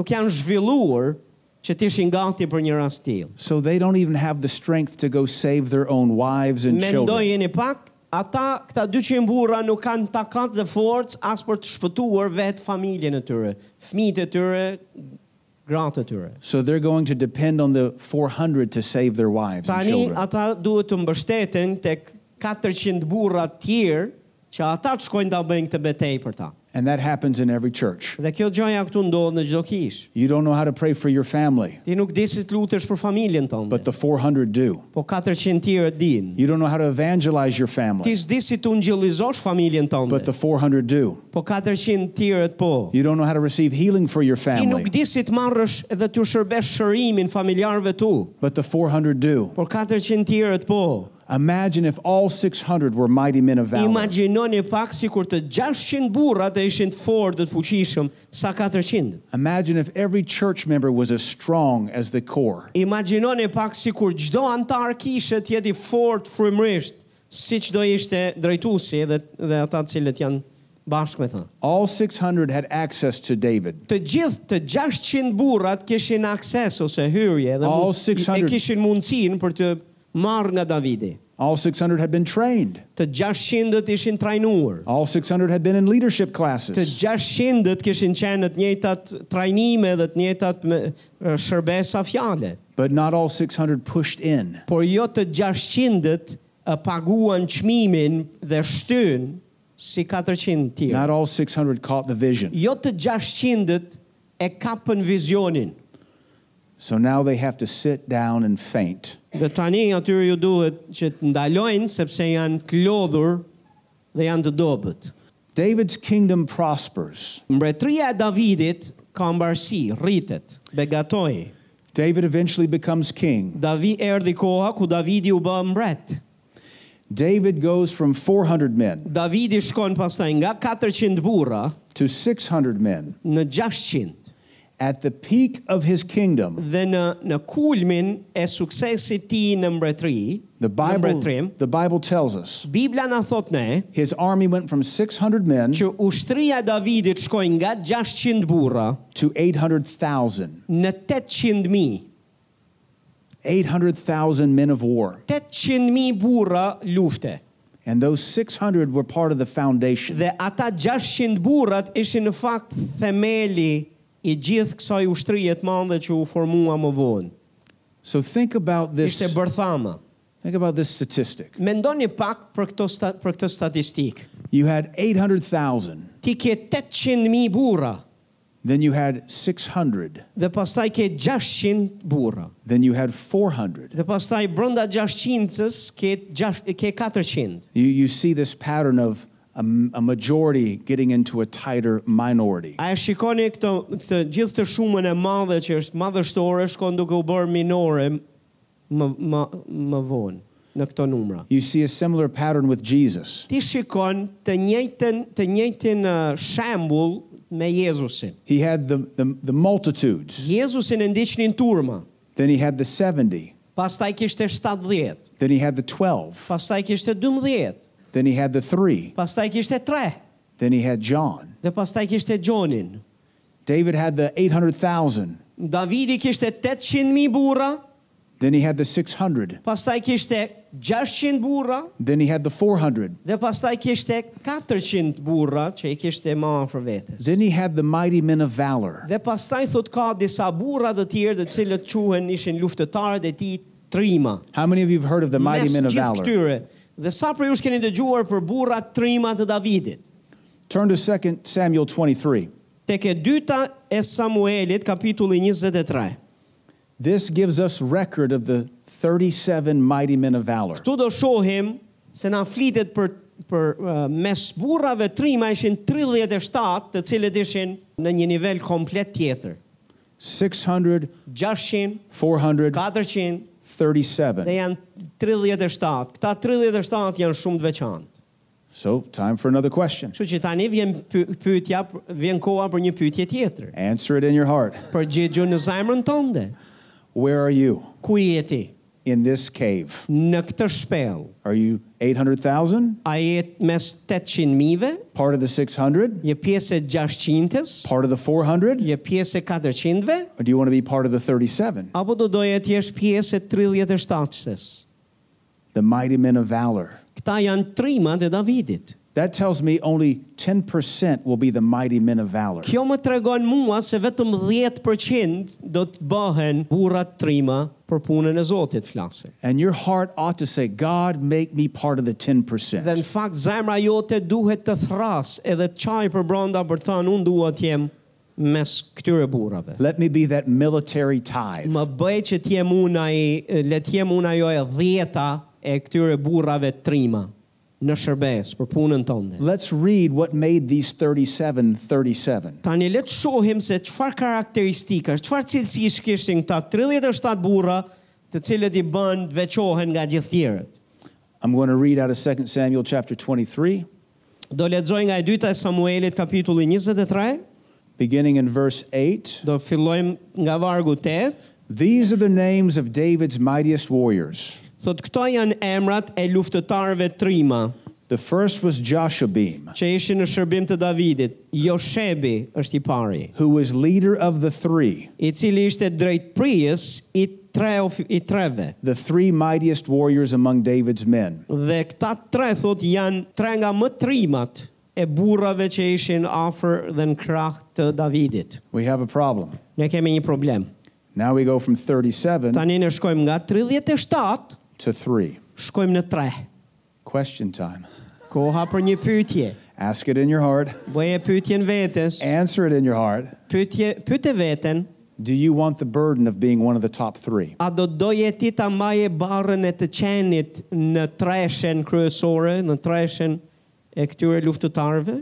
[SPEAKER 1] nuk janë zhvilluar që të ishin gati për një rast tillë.
[SPEAKER 2] So they don't even have the strength to go save their own wives and
[SPEAKER 1] Mendoj
[SPEAKER 2] children.
[SPEAKER 1] jeni pak, ata këta 200 burra nuk kanë takat dhe forcë as për të shpëtuar vetë familjen e tyre, fëmijët e tyre, gratë e tyre.
[SPEAKER 2] So they're going to depend on the 400 to save their wives and
[SPEAKER 1] Tani uh,
[SPEAKER 2] children.
[SPEAKER 1] ata duhet të mbështeten tek 400 burra të tjerë që ata të shkojnë ta bëjnë këtë betejë për ta.
[SPEAKER 2] And that happens in every church.
[SPEAKER 1] Dhe kjo gjaja këtu ndodh në çdo kish.
[SPEAKER 2] You don't know how to pray for your family,
[SPEAKER 1] Ti nuk di si të lutesh për familjen tënde,
[SPEAKER 2] but the 400 do.
[SPEAKER 1] po 400 tjerë din.
[SPEAKER 2] You don't know how to evangelize your
[SPEAKER 1] Ti
[SPEAKER 2] family,
[SPEAKER 1] s'di si të ungjillizosh familjen
[SPEAKER 2] but
[SPEAKER 1] tënde,
[SPEAKER 2] the 400 do.
[SPEAKER 1] po 400 tjerët po.
[SPEAKER 2] You don't know how to receive healing for your
[SPEAKER 1] Ti
[SPEAKER 2] family,
[SPEAKER 1] nuk di si të marrësh edhe të shërbesh shërimin familjarëve tu,
[SPEAKER 2] but the 400 do.
[SPEAKER 1] por 400 tjerët po.
[SPEAKER 2] Imagine if all 600 were mighty men of valor.
[SPEAKER 1] Imagjinoni pak sikur të 600 burrat e ishin të fortë, të fuqishëm, sa 400.
[SPEAKER 2] Imagine if every church member was as strong as the core.
[SPEAKER 1] Imagjinoni pak si kur gjdo antar kishe të jeti fort frymërisht, si që do ishte drejtusi dhe, dhe ata cilët janë bashkë me ta.
[SPEAKER 2] All 600 had access to David.
[SPEAKER 1] Të gjithë të 600 burrat kishin akses ose hyrje dhe
[SPEAKER 2] All
[SPEAKER 1] mund-
[SPEAKER 2] 600.
[SPEAKER 1] e kishin mundësin për të marrë nga Davidi.
[SPEAKER 2] All 600 had been trained.
[SPEAKER 1] Të 600 ishin trajnuar.
[SPEAKER 2] All 600 had been in leadership
[SPEAKER 1] Të
[SPEAKER 2] classes.
[SPEAKER 1] 600 kishin qenë në të njëjtat trajnime dhe të njëjtat me- shërbesa fjale.
[SPEAKER 2] But not all 600 pushed in.
[SPEAKER 1] por jo të 600 e paguan çmimin dhe shtyn si 400 tjerë.
[SPEAKER 2] Not all 600 caught the vision.
[SPEAKER 1] Jo të 600 e kapën vizionin.
[SPEAKER 2] So now they have to sit down and faint.
[SPEAKER 1] Dhe tani atyre ju duhet që të ndalojnë sepse janë të lodhur dhe janë të dobët.
[SPEAKER 2] David's kingdom prospers.
[SPEAKER 1] Mbretëria e Davidit ka mbarsi, rritet, begatoi.
[SPEAKER 2] David eventually becomes king.
[SPEAKER 1] Davi erdhi koha ku Davidi u bë mbret.
[SPEAKER 2] David goes from 400 men
[SPEAKER 1] Davidi shkon pastaj nga 400 burra
[SPEAKER 2] to 600 men.
[SPEAKER 1] në 600
[SPEAKER 2] At the peak of his kingdom,
[SPEAKER 1] dhe në në kulmin e suksesit të tij në mbretëri,
[SPEAKER 2] the
[SPEAKER 1] në
[SPEAKER 2] Bible,
[SPEAKER 1] mbretërim,
[SPEAKER 2] the Bible tells us
[SPEAKER 1] Bibla na thot ne
[SPEAKER 2] his army went from 600 men
[SPEAKER 1] që ushtria e Davidit shkoi nga 600 burra
[SPEAKER 2] to 800,000.
[SPEAKER 1] në 800.000.
[SPEAKER 2] 800,000 men of war.
[SPEAKER 1] 800.000 burra lufte.
[SPEAKER 2] And those 600 were part of the foundation.
[SPEAKER 1] Dhe ata 600 burrat ishin në fakt themeli i gjithë kësaj ushtrie të madhe që u formua më vonë.
[SPEAKER 2] So think about this.
[SPEAKER 1] Ishte bërthama.
[SPEAKER 2] Think about this statistic.
[SPEAKER 1] Mendoni pak për këto sta, për këtë statistikë.
[SPEAKER 2] You had 800,000,
[SPEAKER 1] Ti ke 800.000 burra
[SPEAKER 2] then you had 600,
[SPEAKER 1] dhe pastaj ke 600 burra.
[SPEAKER 2] then you had 400.
[SPEAKER 1] Dhe pastaj brenda 600-s ke gjash- ke 400.
[SPEAKER 2] You, you see this pattern of a, a majority getting into a tighter minority.
[SPEAKER 1] A e shikoni këtë këtë gjithë të shumën e madhe që është madhështore shkon duke u bërë minore më më më vonë në këto numra.
[SPEAKER 2] You see a similar pattern with Jesus.
[SPEAKER 1] Ti shikon të njëjtën të njëjtin uh, shembull me Jezusin.
[SPEAKER 2] He had the, the, the multitudes,
[SPEAKER 1] Jezusin e ndiqnin turma,
[SPEAKER 2] then he had the 70,
[SPEAKER 1] pastaj kishte 70,
[SPEAKER 2] then he had the 12,
[SPEAKER 1] pastaj kishte 12,
[SPEAKER 2] then he had the 3,
[SPEAKER 1] pastaj kishte 3
[SPEAKER 2] then he had John.
[SPEAKER 1] dhe pastaj kishte Gjonin.
[SPEAKER 2] David had the 800,000,
[SPEAKER 1] Davidi kishte 800.000 burra,
[SPEAKER 2] then he had the 600,
[SPEAKER 1] pastaj kishte 600 burra
[SPEAKER 2] then he had the 400,
[SPEAKER 1] dhe pastaj kishte 400 burra që i kishte më afër vetes.
[SPEAKER 2] then he had the mighty men of valor.
[SPEAKER 1] Dhe pastaj thot ka disa burra të tjerë të cilët quhen ishin luftëtarët e tij trima.
[SPEAKER 2] How many of you have heard of the mighty
[SPEAKER 1] Mes
[SPEAKER 2] men of
[SPEAKER 1] gjithë
[SPEAKER 2] valor?
[SPEAKER 1] Këtyre. Dhe sa për jush keni dëgjuar për burrat trima të Davidit?
[SPEAKER 2] Turn to 2 Samuel 23.
[SPEAKER 1] Tek e dyta e Samuelit kapitulli 23.
[SPEAKER 2] This gives us record of the 37 mighty men of valor.
[SPEAKER 1] Këtu do shohim se na flitet për për uh, mes burrave trima ishin 37 të cilët ishin në një nivel komplet tjetër.
[SPEAKER 2] 600,
[SPEAKER 1] 600, 400
[SPEAKER 2] 400,
[SPEAKER 1] dhe
[SPEAKER 2] 37.
[SPEAKER 1] janë 37. Këta 37 janë shumë të veçantë.
[SPEAKER 2] So, time for another question.
[SPEAKER 1] Kështu që tani vjen py- pyetja, vjen koha për një pyetje tjetër.
[SPEAKER 2] Answer it in your heart.
[SPEAKER 1] Përgjigju në zemrën tënde.
[SPEAKER 2] Where are you
[SPEAKER 1] Ku je ti?
[SPEAKER 2] in this cave?
[SPEAKER 1] Në këtë shpellë.
[SPEAKER 2] Are you 800,000,
[SPEAKER 1] A je mes 800 mijëve,
[SPEAKER 2] part of the 600,
[SPEAKER 1] je pjesë e 600-s,
[SPEAKER 2] part of the 400?
[SPEAKER 1] je pjesë e 400-ve,
[SPEAKER 2] Or do you want to be part of the 37?
[SPEAKER 1] apo do doje të jesh pjesë e 37-sës?
[SPEAKER 2] The mighty men of valor.
[SPEAKER 1] Këta janë trimat e Davidit.
[SPEAKER 2] That tells me only 10% will be the mighty men of valor.
[SPEAKER 1] Kjo më tregon mua se vetëm 10% do të bëhen burrat trima për punën e Zotit flasim.
[SPEAKER 2] And your heart ought to say, God, make me part of the
[SPEAKER 1] Dhe në
[SPEAKER 2] 10%.
[SPEAKER 1] fakt zemra jote duhet të thras edhe të çaj për brenda për të thënë unë dua të jem mes këtyre burrave.
[SPEAKER 2] Let me be that military tithe.
[SPEAKER 1] Më bëj që të jem unë ai le të jem unë ajo e dhjeta e këtyre burrave trima në shërbes për punën tënde.
[SPEAKER 2] Let's read what made these 37 37.
[SPEAKER 1] Tani le të shohim se çfarë karakteristikash, çfarë cilësish kishin këta 37 burra, të cilët i bën të veçohen nga gjithë tjerët.
[SPEAKER 2] I'm going to read out of 2 Samuel chapter 23,
[SPEAKER 1] Do lexoj nga e dyta e Samuelit kapitulli 23,
[SPEAKER 2] beginning in verse 8.
[SPEAKER 1] do fillojmë nga vargu 8.
[SPEAKER 2] These are the names of David's mightiest warriors.
[SPEAKER 1] Thot këto janë emrat e luftëtarëve trima
[SPEAKER 2] The first was Joshabim,
[SPEAKER 1] që ishin në shërbim të Davidit. Joshebi është i pari,
[SPEAKER 2] who was leader of the three,
[SPEAKER 1] i cili ishte drejtpërijës i tre of- i treve.
[SPEAKER 2] the three mightiest warriors among David's men.
[SPEAKER 1] Dhe këta tre thot janë tre nga më trimat e burrave që ishin afër dhe në krah të Davidit.
[SPEAKER 2] We have a problem.
[SPEAKER 1] Ne kemi një problem.
[SPEAKER 2] Now we go from 37
[SPEAKER 1] Tani ne shkojmë nga 37,
[SPEAKER 2] to 3.
[SPEAKER 1] shkojmë në 3.
[SPEAKER 2] Question time.
[SPEAKER 1] Koha për një pyetje.
[SPEAKER 2] Ask it in your heart.
[SPEAKER 1] Bëje pyetjen vetes.
[SPEAKER 2] Answer it in your heart.
[SPEAKER 1] Pyetje, pyete veten,
[SPEAKER 2] Do you want the burden of being one of the top three?
[SPEAKER 1] a do doje ti ta maje barën e të qenit në treshen kryesore, në treshen e këtyre luftëtarëve?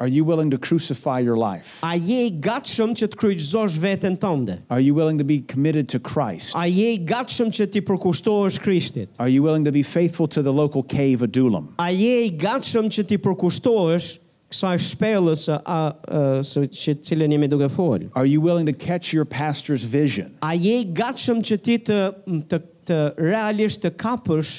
[SPEAKER 2] Are you willing to crucify your life?
[SPEAKER 1] A je i gatshëm që të kryqëzosh veten tënde?
[SPEAKER 2] Are you willing to be committed to Christ?
[SPEAKER 1] A je i gatshëm që ti përkushtohesh Krishtit?
[SPEAKER 2] Are you willing to be faithful to the local cave Adullam?
[SPEAKER 1] A je i gatshëm që ti përkushtohesh kësaj shpellës a, a, së që cilën jemi duke fol?
[SPEAKER 2] Are you willing to catch your pastor's vision?
[SPEAKER 1] A je i gatshëm që ti të të të realisht të kapësh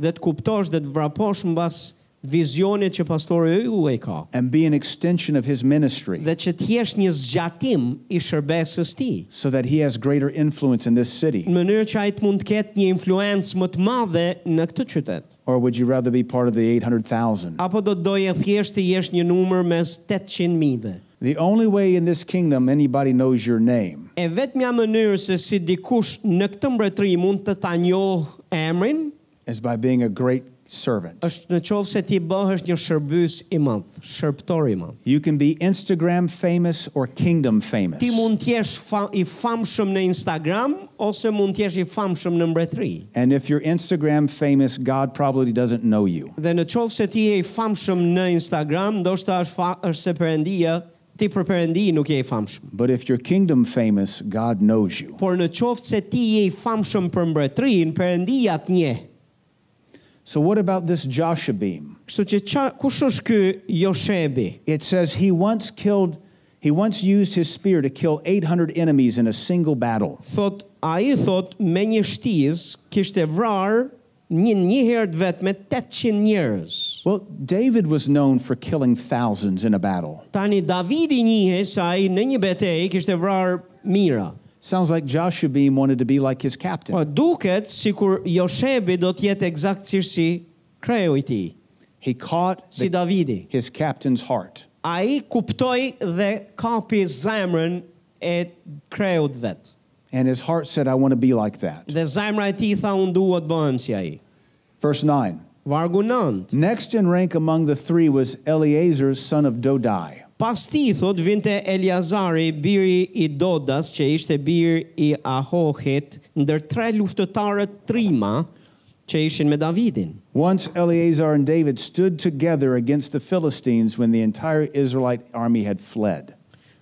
[SPEAKER 1] dhe të kuptosh dhe të vraposh mbas vizionit që pastori juaj ka?
[SPEAKER 2] and be an extension of his ministry
[SPEAKER 1] dhe që të jesh një zgjatim i shërbesës ti.
[SPEAKER 2] so that he has greater influence in this
[SPEAKER 1] Në
[SPEAKER 2] city?
[SPEAKER 1] mënyrë që ai të mund të ketë një influencë më të madhe në këtë qytet.
[SPEAKER 2] Or would you rather be part of the 800,000?
[SPEAKER 1] Apo do të doje thjesht të jesh një numër mes 800 mijëve.
[SPEAKER 2] The only way in this kingdom anybody knows your name
[SPEAKER 1] E vetmja mënyrë se si dikush në këtë mbretëri mund të ta njohë emrin
[SPEAKER 2] is by being a great servant.
[SPEAKER 1] është në qovë se ti bëhesh një shërbys i madh, shërbëtor i madh.
[SPEAKER 2] You can be Instagram famous or kingdom famous.
[SPEAKER 1] Ti mund të jesh fa- i famshëm në Instagram ose mund të jesh i famshëm në mbretëri.
[SPEAKER 2] And if you're Instagram famous, God probably doesn't know you.
[SPEAKER 1] Dhe në qovë se ti je i famshëm në Instagram, ndoshta është, fa, është se përëndia, ti për përëndi nuk je i famshëm.
[SPEAKER 2] But if you're kingdom famous, God knows you.
[SPEAKER 1] Por në qovë se ti je i famshëm për mbretërin, përëndia të nje.
[SPEAKER 2] So what about this Joshabim?
[SPEAKER 1] Kështu që qa, kush është ky Joshebi?
[SPEAKER 2] It says he once killed he once used his spear to kill 800 enemies in a single battle.
[SPEAKER 1] Thot, a i thot, me një shtiz, kishte vrarë një një herë të vetë me 800 njerëz.
[SPEAKER 2] Well, David was known for killing thousands in a battle.
[SPEAKER 1] Tani Davidi njihe se a i në një betej kishte vrarë mira.
[SPEAKER 2] Sounds like Joshabim wanted to be like his
[SPEAKER 1] Po
[SPEAKER 2] captain.
[SPEAKER 1] duket sikur Joshebi do të jetë eksaktësisht si kreu i tij.
[SPEAKER 2] He caught
[SPEAKER 1] si
[SPEAKER 2] the-
[SPEAKER 1] Davidi.
[SPEAKER 2] his captain's heart.
[SPEAKER 1] A i kuptoj dhe kapi zemrën e kreut vetë.
[SPEAKER 2] And his heart said, I want to be like that.
[SPEAKER 1] Dhe zemra e ti tha unë duhet bëhem si a i.
[SPEAKER 2] Verse 9.
[SPEAKER 1] Vargu 9.
[SPEAKER 2] Next in rank among the three was Eleazar, son of Dodai.
[SPEAKER 1] Pas ti, thot, vinte Eliazari, biri i Dodas, që ishte biri i Ahohit, ndër tre luftëtarët trima që ishin me Davidin.
[SPEAKER 2] Once Eleazar and David stood together against the Philistines when the entire Israelite army had fled.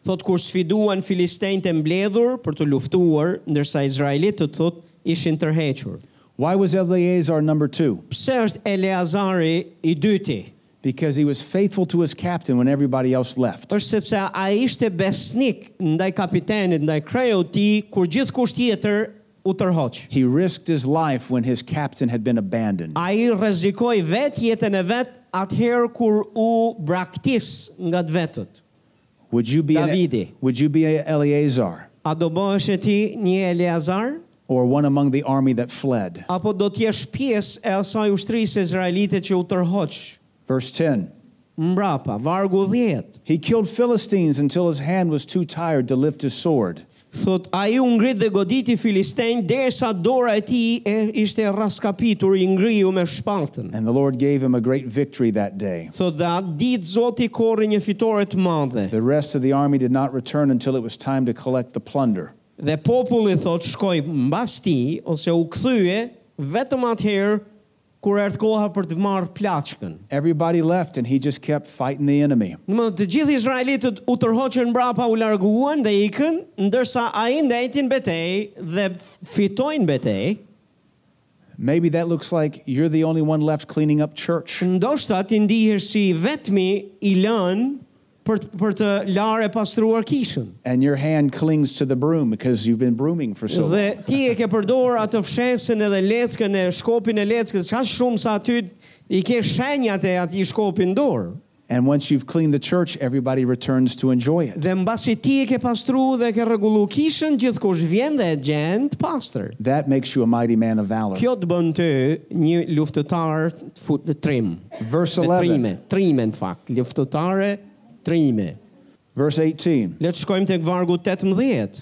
[SPEAKER 1] Thot, kur sfiduan filistejnë të mbledhur për të luftuar, ndërsa Izraelitët, thot, ishin tërhequr.
[SPEAKER 2] Why was Eleazar number two?
[SPEAKER 1] Pse është Eleazari i dyti?
[SPEAKER 2] Because he was faithful to his captain when everybody else left.
[SPEAKER 1] është sepse a ishte besnik ndaj kapitenit, ndaj kreu ti, kur gjithë kusht tjetër u tërhoq.
[SPEAKER 2] He risked his life when his captain had been abandoned.
[SPEAKER 1] A i rezikoj vetë jetën e vetë atëherë kur u braktis nga të vetët.
[SPEAKER 2] Would you be
[SPEAKER 1] Davidi.
[SPEAKER 2] An, would you be a Eleazar
[SPEAKER 1] A do bëhesh e ti një Eleazar,
[SPEAKER 2] or one among the army that fled?
[SPEAKER 1] apo do t'jesh pjesë e asaj ushtrisë izraelite që u tërhoq?
[SPEAKER 2] Verse 10.
[SPEAKER 1] Mbrapa, vargu 10.
[SPEAKER 2] He killed Philistines until his hand was too tired to lift his sword.
[SPEAKER 1] Thot, a i u ngrit dhe goditi Filistenj, derisa dora e ti e ishte raskapitur i ngriju me shpatën.
[SPEAKER 2] And the Lord gave him a great victory that day.
[SPEAKER 1] Thot dhe atë ditë Zoti korri një fitore të madhe.
[SPEAKER 2] The rest of the army did not return until it was time to collect the plunder.
[SPEAKER 1] Dhe populli thot shkoj mbas ti ose u kthye vetëm atëherë kur erdhi koha për të marrë plaçkën.
[SPEAKER 2] Everybody left, and he just kept fighting the enemy.
[SPEAKER 1] Në më të gjithë Izraelitët u tërhoqën mbrapa, u larguan dhe ikën, ndërsa ai ndajtin betejë dhe fitojnë betejë.
[SPEAKER 2] Maybe that looks like you're the only one left cleaning up church.
[SPEAKER 1] Ndoshta ti ndihesh si vetmi i lënë për të, për të larë e pastruar kishën.
[SPEAKER 2] And your hand clings to the broom because you've been brooming for so long.
[SPEAKER 1] Dhe ti e ke përdorur atë fshesën edhe leckën e shkopin e leckës, ka shumë sa aty i ke shenjat e atij shkopi në dorë.
[SPEAKER 2] And once you've cleaned the church, everybody returns to enjoy it.
[SPEAKER 1] Dhe mbasi ti e ke pastruar dhe ke rregullu kishën, gjithkush vjen dhe e gjen të pastër.
[SPEAKER 2] That makes you a mighty man of valor.
[SPEAKER 1] Kjo të bën ty një luftëtar të fut të trim.
[SPEAKER 2] Verse
[SPEAKER 1] Të
[SPEAKER 2] 11.
[SPEAKER 1] Trime, trime në fakt, luftëtare trime.
[SPEAKER 2] Verse 18
[SPEAKER 1] Le të shkojmë tek vargu 18.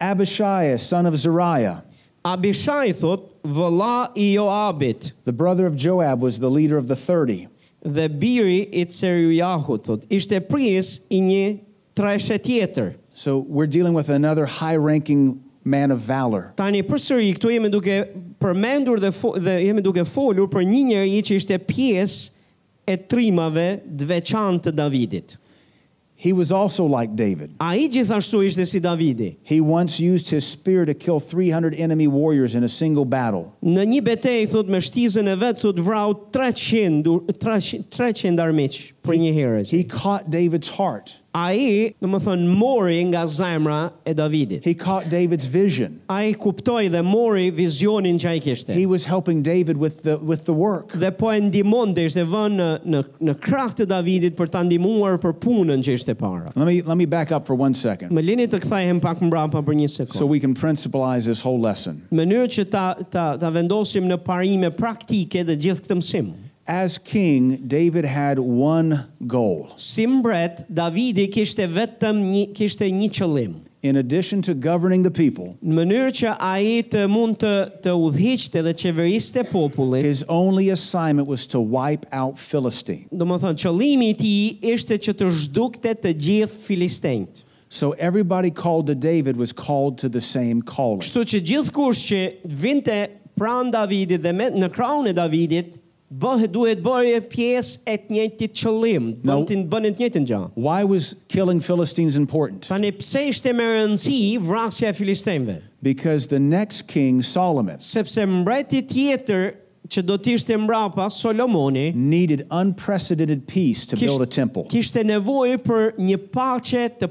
[SPEAKER 2] Abishai, son of Zariah,
[SPEAKER 1] Abishai thot, vëlla i Joabit,
[SPEAKER 2] the brother of Joab, was the leader of the 30.
[SPEAKER 1] dhe biri i Cerujahut, thot, ishte pris i një treshe tjetër.
[SPEAKER 2] So we're dealing with another high ranking man of valor.
[SPEAKER 1] Tani përsëri këtu jemi duke përmendur dhe, fo, dhe jemi duke folur për një njeri që ishte pjesë e trimave të veçantë të Davidit.
[SPEAKER 2] He was also like David.
[SPEAKER 1] A i gjithashtu ishte si Davidi.
[SPEAKER 2] He once used his spear to kill 300 enemy warriors in a single battle.
[SPEAKER 1] Në një betej, thot, me shtizën e vetë, thot, vrau 300, du- 300, 300 armiq për një herës.
[SPEAKER 2] He caught David's heart.
[SPEAKER 1] A i, në më thënë, mori nga zemra e Davidit.
[SPEAKER 2] He caught David's vision.
[SPEAKER 1] A i kuptoj dhe mori vizionin që a i kishte.
[SPEAKER 2] He was helping David with the with the work.
[SPEAKER 1] Dhe po e ndimon dhe ishte vënë në, në, në krah të Davidit për ta ndimuar për punën që ishte para.
[SPEAKER 2] Let me let me back up for one second
[SPEAKER 1] Më lini të kthehem pak mbrapa për një sekundë.
[SPEAKER 2] so we can principalize this whole lesson.
[SPEAKER 1] mënyrë që ta, ta, ta vendosim në parime praktike dhe gjithë këtë mësim.
[SPEAKER 2] As king, David had one goal.
[SPEAKER 1] Si mbret, Davidi kishte vetëm një, kishte një qëllim.
[SPEAKER 2] In addition to governing the people,
[SPEAKER 1] Në mënyrë që a i të mund të, të udhiqte dhe qeveriste popullit,
[SPEAKER 2] his only assignment was to wipe out Philistine.
[SPEAKER 1] do më thënë, qëllimi i ti ishte që të zhdukte të gjithë filistenjt.
[SPEAKER 2] So everybody called to David was called to the same calling.
[SPEAKER 1] Kështu që gjithë kush që vinte pranë Davidit dhe me, në krahun e Davidit, bëhet duhet bërje pjesë e të njëjtit qëllim,
[SPEAKER 2] No.
[SPEAKER 1] bënin bënin të njëjtin gjë.
[SPEAKER 2] Why was killing Philistines important?
[SPEAKER 1] Tani pse ishte me rëndësi vrasja e filistenjve?
[SPEAKER 2] Because the next king, Solomon,
[SPEAKER 1] sepse mbreti tjetër që do të ishte mbrapa Solomoni
[SPEAKER 2] needed unprecedented peace to build a temple.
[SPEAKER 1] kishte nevojë për një paqe të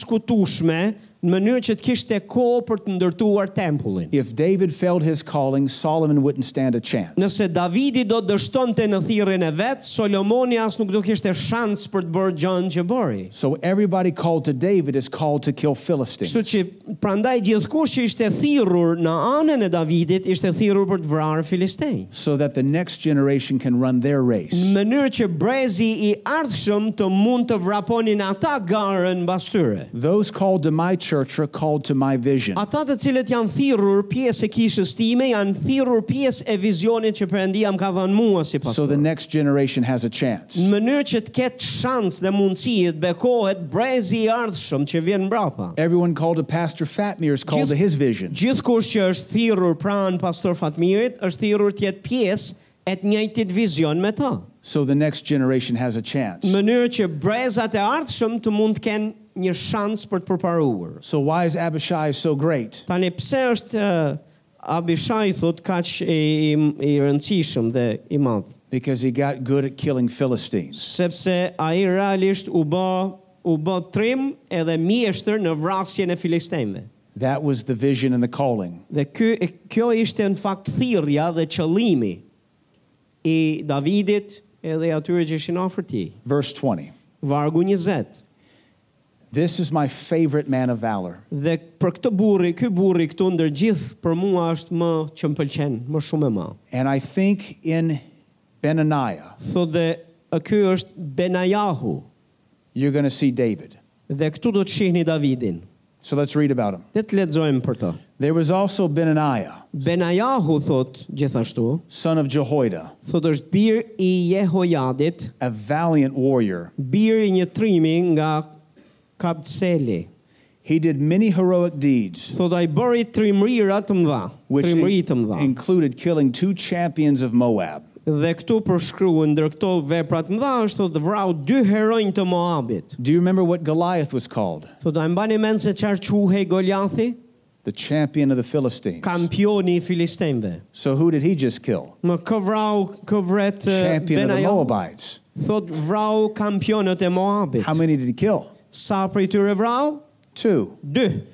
[SPEAKER 1] padiskutueshme në mënyrë që të kishte kohë për të ndërtuar tempullin.
[SPEAKER 2] If David failed his calling, Solomon wouldn't stand a chance.
[SPEAKER 1] Nëse Davidi do dështonte në thirrjen e vet, Solomoni as nuk do kishte shans për të bërë gjën që bëri.
[SPEAKER 2] So everybody called to David is called to kill Philistines.
[SPEAKER 1] Kështu që prandaj gjithkush që ishte thirrur në anën e Davidit ishte thirrur për të vrarë filistej.
[SPEAKER 2] so that the next generation can run their
[SPEAKER 1] Në
[SPEAKER 2] race.
[SPEAKER 1] mënyrë që brezi i ardhshëm të mund të vraponin ata garën mbas tyre.
[SPEAKER 2] Those called to my church are called to my vision.
[SPEAKER 1] Ata të cilët janë thirrur pjesë e kishës time, janë thirrur pjesë e vizionit që Perëndia më ka dhënë mua si
[SPEAKER 2] So
[SPEAKER 1] pastor.
[SPEAKER 2] the next generation has a chance.
[SPEAKER 1] Në mënyrë që të ketë shans dhe mundësi të bekohet brezi i ardhshëm që vjen mbrapa.
[SPEAKER 2] Everyone called to Pastor Fatmir is called to his vision.
[SPEAKER 1] Gjithkush që është thirrur pranë pastor Fatmirit, është thirrur të jetë pjesë e të njëjtit vizion me ta.
[SPEAKER 2] So the next generation has a
[SPEAKER 1] Në
[SPEAKER 2] chance.
[SPEAKER 1] mënyrë që brezat e ardhshëm të mund të kenë një shans për të përparuar.
[SPEAKER 2] So why is Abishai so great?
[SPEAKER 1] Tani pse është uh, Abishai thot kaq i, i, i rëndësishëm dhe i madh?
[SPEAKER 2] Because he got good at killing Philistines.
[SPEAKER 1] sepse ai realisht u bë u bë trim edhe mjeshtër në vrasjen e filistejve.
[SPEAKER 2] That was the vision and the calling.
[SPEAKER 1] Dhe ky kjo ishte në fakt thirrja dhe qëllimi i Davidit edhe i atyre që ishin afër tij.
[SPEAKER 2] Verse 20.
[SPEAKER 1] Vargu 20.
[SPEAKER 2] This is my favorite man of valor.
[SPEAKER 1] Dhe për këtë burri, ky burri këtu ndër gjithë për mua është më që më pëlqen, më shumë e më.
[SPEAKER 2] And I think in Benaniah,
[SPEAKER 1] Thotë dhe "Ë, ky është Benajahu
[SPEAKER 2] you're going to see David.
[SPEAKER 1] dhe këtu do të shihni Davidin.
[SPEAKER 2] So let's read about him.
[SPEAKER 1] Le të lexojmë për të.
[SPEAKER 2] There was also Benaniah,
[SPEAKER 1] Benajahu thot gjithashtu,
[SPEAKER 2] son of Jehoiada,
[SPEAKER 1] Thot është bir i Jehojadit,
[SPEAKER 2] a valiant warrior.
[SPEAKER 1] bir i një trimi nga Kapseli.
[SPEAKER 2] He did many heroic deeds,
[SPEAKER 1] Thot ai bëri trimrira të mëdha,
[SPEAKER 2] which
[SPEAKER 1] trimëri të mëdha.
[SPEAKER 2] included killing two champions of Moab.
[SPEAKER 1] Dhe këtu përshkruan ndër këto vepra të mëdha është thot vrau dy heronj të Moabit.
[SPEAKER 2] Do you remember what Goliath was called?
[SPEAKER 1] Thot ai mbani mend se çfarë quhej Goliathi,
[SPEAKER 2] The champion of the Philistines.
[SPEAKER 1] kampioni i filistejve.
[SPEAKER 2] So who did he just kill?
[SPEAKER 1] Më kë vrau kë vret eh,
[SPEAKER 2] Champion of the
[SPEAKER 1] Benaja.
[SPEAKER 2] Moabites.
[SPEAKER 1] Thot vrau kampionët e Moabit.
[SPEAKER 2] How many did he kill?
[SPEAKER 1] Sa prej tyre vrau?
[SPEAKER 2] Two.
[SPEAKER 1] Dy.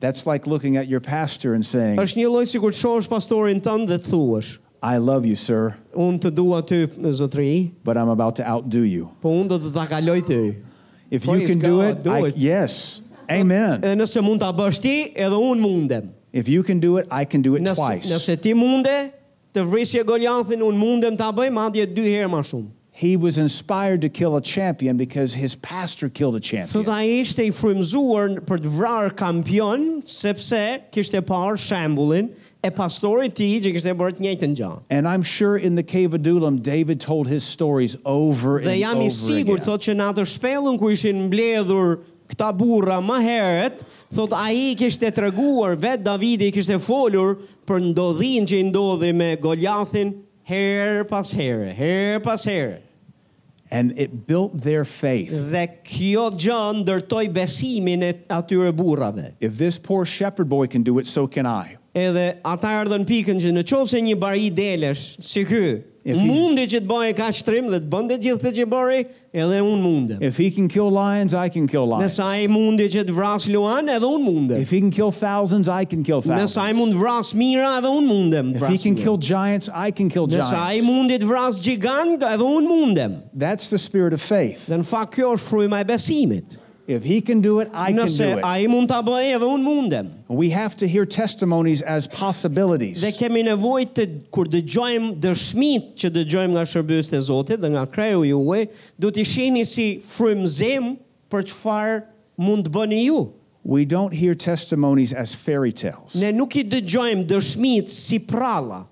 [SPEAKER 2] That's like looking at your pastor and saying,
[SPEAKER 1] Është një lloj sikur të shohësh pastorin tënd dhe të thuash,
[SPEAKER 2] I love you, sir,
[SPEAKER 1] unë të dua ty, zotëri,
[SPEAKER 2] but I'm about to outdo you.
[SPEAKER 1] po unë do të ta kaloj ty.
[SPEAKER 2] If you
[SPEAKER 1] Praise
[SPEAKER 2] can do
[SPEAKER 1] God,
[SPEAKER 2] it,
[SPEAKER 1] do
[SPEAKER 2] I,
[SPEAKER 1] it.
[SPEAKER 2] yes. Amen.
[SPEAKER 1] Edhe nëse mund ta bësh ti, edhe unë mundem.
[SPEAKER 2] If you can do it, I can do it
[SPEAKER 1] Nëse,
[SPEAKER 2] twice.
[SPEAKER 1] nëse ti munde, të vrisje Goliathin, unë mundem ta bëj, madje dy herë më shumë.
[SPEAKER 2] He was inspired to kill a champion because his pastor killed a
[SPEAKER 1] Sot
[SPEAKER 2] champion.
[SPEAKER 1] ai ishte i frymzuar n- për të vrarë kampion, sepse kishte parë shembullin e pastorit të tij që kishte bërë të njëjtën gjë.
[SPEAKER 2] And I'm sure in the cave of Adullam, David told his stories over and
[SPEAKER 1] Dhe jam i
[SPEAKER 2] over
[SPEAKER 1] sigurt
[SPEAKER 2] again.
[SPEAKER 1] thotë që në atë shpellën ku ishin mbledhur këta burra më herët, thotë ai i kishte treguar vet Davidi i kishte folur për ndodhin që i ndodhi me Goliathin herë pas here, herë pas herë.
[SPEAKER 2] and it built their faith.
[SPEAKER 1] Dhe kjo gjë ndërtoi besimin e atyre burrave.
[SPEAKER 2] If this poor shepherd boy can do it, so can I.
[SPEAKER 1] Edhe ata erdhën pikën që në qovë se një bari delesh, si ky,
[SPEAKER 2] E thi-
[SPEAKER 1] mundi që të bëhe ka shtrim dhe të bënde gjithë të që bëri, edhe unë mundem.
[SPEAKER 2] If he can kill lions, I can kill lions.
[SPEAKER 1] Nësa ai mundi që të vras luan, edhe unë mundem.
[SPEAKER 2] If he can kill thousands, I can kill thousands.
[SPEAKER 1] Nësa ai mund vras mira, edhe unë mundem.
[SPEAKER 2] If he
[SPEAKER 1] vras
[SPEAKER 2] can
[SPEAKER 1] mira.
[SPEAKER 2] kill giants, I can kill
[SPEAKER 1] Nësa ai
[SPEAKER 2] giants.
[SPEAKER 1] mundi të vras gjigant, edhe unë mundem.
[SPEAKER 2] That's the spirit of faith.
[SPEAKER 1] Dhe në fakt kjo është fryma e besimit.
[SPEAKER 2] If he can do it, I can
[SPEAKER 1] Nëse
[SPEAKER 2] do it.
[SPEAKER 1] ai mund ta bëjë edhe unë mundem.
[SPEAKER 2] We have to hear testimonies as
[SPEAKER 1] Dhe
[SPEAKER 2] possibilities.
[SPEAKER 1] kemi nevojë të kur dëgjojmë dëshmit që dëgjojmë nga shërbësit e Zotit dhe nga kreu juaj, do t'i shihni si frymëzim për çfarë mund të bëni ju.
[SPEAKER 2] We don't hear testimonies as fairy tales.
[SPEAKER 1] Ne nuk i dëgjojmë dëshmit si pralla,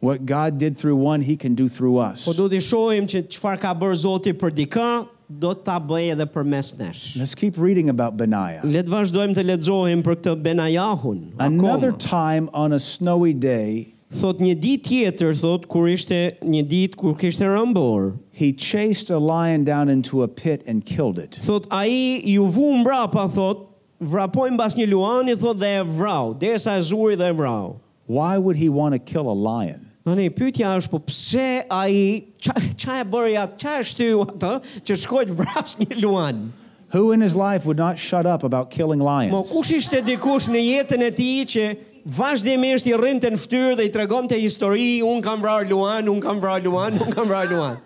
[SPEAKER 2] What God did through one, he can do through us.
[SPEAKER 1] po do t'i shohim që çfarë ka bërë Zoti për dikë, do ta bëjë edhe përmes nesh.
[SPEAKER 2] Let's keep reading about Benaiah.
[SPEAKER 1] Le të vazhdojmë të lexohim për këtë Benajahun.
[SPEAKER 2] Another
[SPEAKER 1] akoma.
[SPEAKER 2] time on a snowy day,
[SPEAKER 1] Thot një ditë tjetër, thot kur ishte një ditë kur kishte rëmbor.
[SPEAKER 2] he chased a lion down into a pit and killed it.
[SPEAKER 1] Thot ai ju vu mbrapa, thot, vrapoi mbas një luani, thot dhe e vrau, derisa e zuri dhe e vrau.
[SPEAKER 2] Why would he want to kill a lion?
[SPEAKER 1] Tani pyetja është po pse ai ça ça e bëri atë, ça e shtyu atë që shkoi të vras një luan.
[SPEAKER 2] Who in his life would not shut up about killing
[SPEAKER 1] Mo
[SPEAKER 2] lions?
[SPEAKER 1] kush ishte dikush në jetën e tij që vazhdimisht i rrinte në fytyrë dhe i tregonte histori, un kam vrarë luan, un kam vrarë luan, un kam vrarë luan.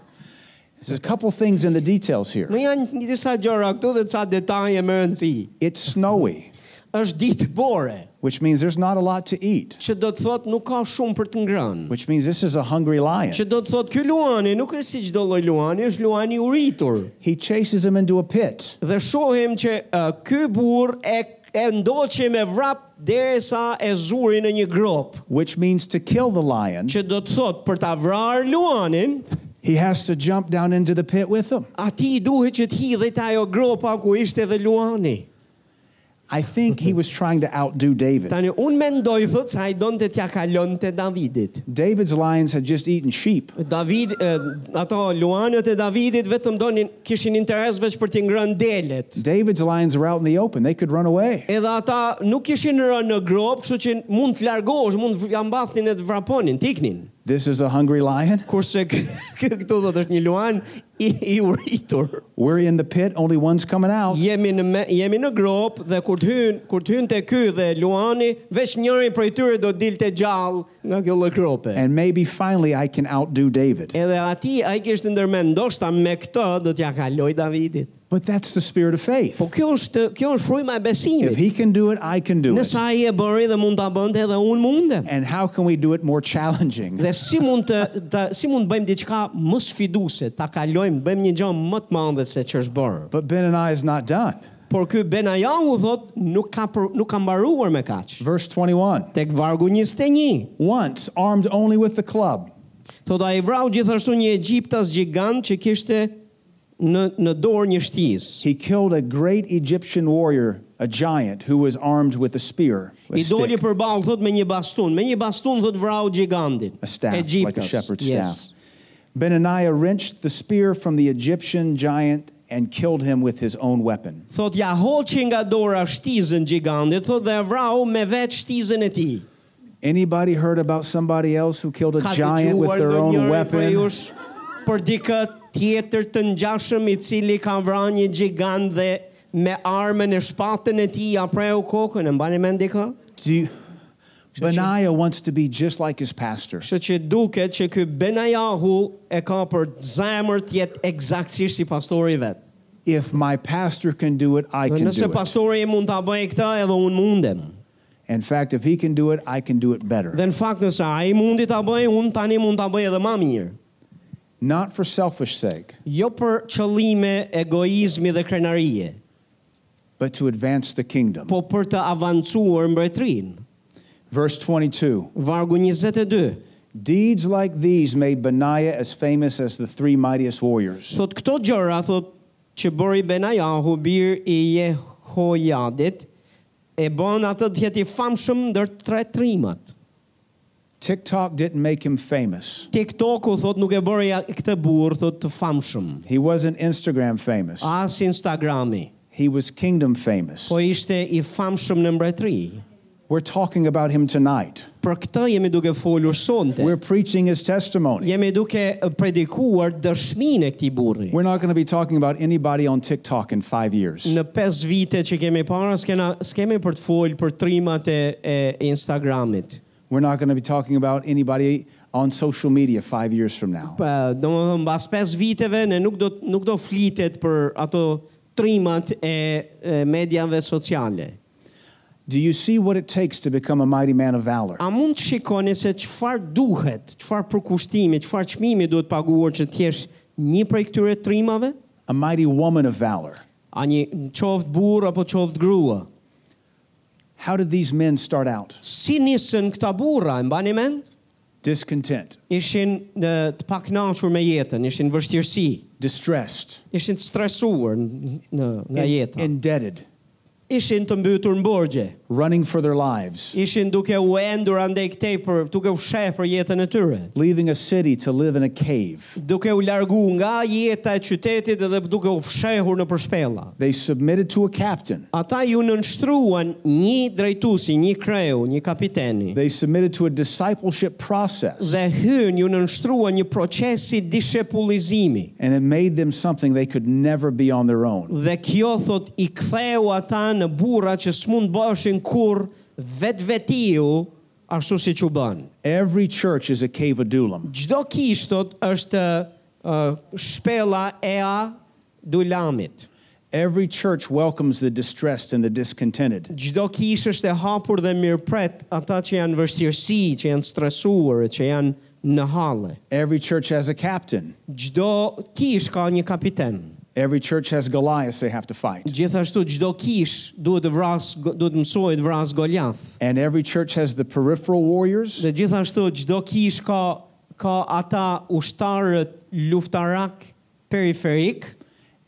[SPEAKER 2] There's a couple things in the details here.
[SPEAKER 1] Në janë një disa gjëra këtu dhe ca detaje më rëndësi.
[SPEAKER 2] It's snowy,
[SPEAKER 1] është ditë bore,
[SPEAKER 2] which means there's not a lot to eat,
[SPEAKER 1] që do të thotë nuk ka shumë për të ngrënë.
[SPEAKER 2] which means this is a hungry lion.
[SPEAKER 1] Që do të thotë ky luani nuk është si çdo lloj luani, është luani i uritur.
[SPEAKER 2] He chases him into a pit.
[SPEAKER 1] Dhe shohim që uh, ky burr e e ndoqi me vrap derisa e zuri në një grop,
[SPEAKER 2] which means to kill the lion,
[SPEAKER 1] që do të thotë për ta vrarë luanin,
[SPEAKER 2] he has to jump down into the pit with him.
[SPEAKER 1] ati i duhet që të hidhet ajo gropa ku ishte edhe luani.
[SPEAKER 2] I think he was trying to outdo David.
[SPEAKER 1] Tani unë mendoj thotë se ai donte t'ja kalonte Davidit.
[SPEAKER 2] David's lions had just eaten sheep.
[SPEAKER 1] David, e, ato luanët e Davidit vetëm donin kishin interes veç për t'i ngrënë delet.
[SPEAKER 2] David's lions were out in the open, they could run away.
[SPEAKER 1] Edhe ata nuk kishin rënë në grop, kështu që mund të largohesh, mund të ambathnin e të vraponin, tiknin.
[SPEAKER 2] This is a hungry lion.
[SPEAKER 1] Kurse kë, kë, këtu do të është një luan i, i uritur.
[SPEAKER 2] We're in the pit, only one's coming out.
[SPEAKER 1] Jemi në, me, jemi në grop dhe kur të hyn, kur të hyn të ky dhe luani, veç njëri prej tyre do dil të gjallë nga kjo lloj grope.
[SPEAKER 2] And maybe finally I can outdo David.
[SPEAKER 1] Edhe ati, ai kishte ndërmend, ndoshta me këtë do t'ja kaloj Davidit.
[SPEAKER 2] But that's the spirit of
[SPEAKER 1] Po
[SPEAKER 2] faith.
[SPEAKER 1] kjo është kjo është fryma e besimit.
[SPEAKER 2] If he can do it, I can do it.
[SPEAKER 1] Nëse ai e bëri dhe mund ta bënte edhe unë mundem.
[SPEAKER 2] And how can we do it more challenging?
[SPEAKER 1] Dhe si mund të, të si mund të bëjmë diçka më sfiduese, ta kalojmë, bëjmë një gjë më të madhe se ç'është bërë.
[SPEAKER 2] But Ben and I is not done.
[SPEAKER 1] Por ky Benajahu thot nuk ka për, nuk ka mbaruar me kaç.
[SPEAKER 2] Verse 21
[SPEAKER 1] Tek vargu 21.
[SPEAKER 2] Once armed only with the club,
[SPEAKER 1] Thot ai vrau gjithashtu një egjiptas gjigant që kishte në në dorë një shtisë.
[SPEAKER 2] He killed a great Egyptian warrior, a giant, who was armed with a spear, a
[SPEAKER 1] I doli
[SPEAKER 2] stick,
[SPEAKER 1] përballë thot me një bastun, me një bastun thot vrau gigantin.
[SPEAKER 2] a staff, like a
[SPEAKER 1] Egjiptas.
[SPEAKER 2] shepherd's
[SPEAKER 1] Yes.
[SPEAKER 2] staff. Benaniah wrenched the spear from the Egyptian giant and killed him with his own weapon.
[SPEAKER 1] Thot ja hoqi nga dora shtizën gigantit, thot dhe e vrau me vetë shtizën e tij.
[SPEAKER 2] Anybody heard about somebody else who killed a
[SPEAKER 1] Ka
[SPEAKER 2] giant with
[SPEAKER 1] dëgjuar
[SPEAKER 2] their own
[SPEAKER 1] ndonjëri prej
[SPEAKER 2] weapon?
[SPEAKER 1] jush për dikë tjetër të ngjashëm i cili ka vrarë një gjigant dhe me armën e shpatën e tij ja preu kokën, e mbani mend dikë?
[SPEAKER 2] Do you, Benaiah wants to be just like his pastor.
[SPEAKER 1] Kështu që duket që ky Benajahu e ka për zemër të jetë eksaktësisht si pastori i vet.
[SPEAKER 2] If my pastor can do it, I
[SPEAKER 1] Dhe
[SPEAKER 2] can
[SPEAKER 1] Nëse
[SPEAKER 2] do it.
[SPEAKER 1] pastori mund ta bëjë këtë, edhe unë mundem.
[SPEAKER 2] In fact, if he can do it, I can do it better.
[SPEAKER 1] Dhe në fakt nëse ai mundi ta bëjë, unë tani mund ta bëj edhe më mirë.
[SPEAKER 2] Not for selfish sake,
[SPEAKER 1] jo për qëllime egoizmi dhe krenarie,
[SPEAKER 2] but to advance the kingdom.
[SPEAKER 1] po për të avancuar mbretërinë.
[SPEAKER 2] Verse 22.
[SPEAKER 1] Vargu 22.
[SPEAKER 2] Deeds like these made Benaiah as famous as the three mightiest warriors.
[SPEAKER 1] Thot këto gjëra thot që bëri Benajahu bir i Jehojadit e bën atë të jetë i famshëm ndër tre trimat.
[SPEAKER 2] TikTok didn't make him famous.
[SPEAKER 1] TikToku thot nuk e bëri këtë burr thot të famshëm.
[SPEAKER 2] He wasn't Instagram famous.
[SPEAKER 1] As Instagrami,
[SPEAKER 2] He was kingdom famous.
[SPEAKER 1] po ishte i famshëm në mbretëri.
[SPEAKER 2] We're talking about him tonight.
[SPEAKER 1] Për këtë jemi duke folur sonte.
[SPEAKER 2] We're preaching his testimony.
[SPEAKER 1] Jemi duke predikuar dëshminë e këtij burri.
[SPEAKER 2] We're not going to be talking about anybody on TikTok in five years.
[SPEAKER 1] Në 5 vite që kemi para, s'kena s'kemi për të folë për trimat e, e Instagramit.
[SPEAKER 2] We're not going to be talking about anybody on social media five years from now.
[SPEAKER 1] Pa, do më thëmë, bas 5 viteve, ne nuk do, nuk do flitet për ato trimat e, e medjave sociale.
[SPEAKER 2] Do you see what it takes to become a mighty man of valor?
[SPEAKER 1] A mund të shikoni se qëfar duhet, qëfar përkushtimi, qëfar qmimi duhet paguar që t'jesh një prej këtyre trimave?
[SPEAKER 2] A mighty woman of valor?
[SPEAKER 1] A një qoftë burë apo qoftë grua?
[SPEAKER 2] How did these men start out?
[SPEAKER 1] Si nisën këta burra, e mbani mend?
[SPEAKER 2] Discontent,
[SPEAKER 1] Ishin në, të pak nashur me jetën, ishin vështirësi,
[SPEAKER 2] distressed,
[SPEAKER 1] ishin të stresuar n- në, nga
[SPEAKER 2] in-
[SPEAKER 1] jeta.
[SPEAKER 2] indebted,
[SPEAKER 1] Ishin të mbytur në borgje.
[SPEAKER 2] running for their lives,
[SPEAKER 1] ishin duke u endur andaj këtej për duke u sheh për jetën e tyre.
[SPEAKER 2] leaving a city to live in a cave.
[SPEAKER 1] Duke u largu nga jeta e qytetit edhe duke u fshehur në përshpella.
[SPEAKER 2] They submitted to a captain,
[SPEAKER 1] Ata ju nënshtruan një drejtusi, një kreu, një kapiteni.
[SPEAKER 2] they submitted to a discipleship process,
[SPEAKER 1] Dhe hyn ju nënshtruan një procesi dishepullizimi.
[SPEAKER 2] and it made them something they could never be on their own.
[SPEAKER 1] Dhe kjo thot i ktheu ata në burra që s'mund bëshin kur vetë vetiu ashtu si që bënë.
[SPEAKER 2] Every church is a cave adullam.
[SPEAKER 1] Gjdo kishtot është uh, shpela e a dulamit.
[SPEAKER 2] Every church welcomes the distressed and the discontented.
[SPEAKER 1] Gjdo kish është e hapur dhe mirëpret ata që janë vështirësi, që janë stresuar, që janë në halle.
[SPEAKER 2] Every church has a captain.
[SPEAKER 1] Gjdo kish ka një kapiten.
[SPEAKER 2] Every church has Goliath they have to fight.
[SPEAKER 1] Gjithashtu gjdo kish duhet të vras, duhet të mësojë të vras Goliath.
[SPEAKER 2] And every church has the peripheral warriors
[SPEAKER 1] Dhe gjithashtu gjdo kish ka ka ata ushtarët luftarak periferik.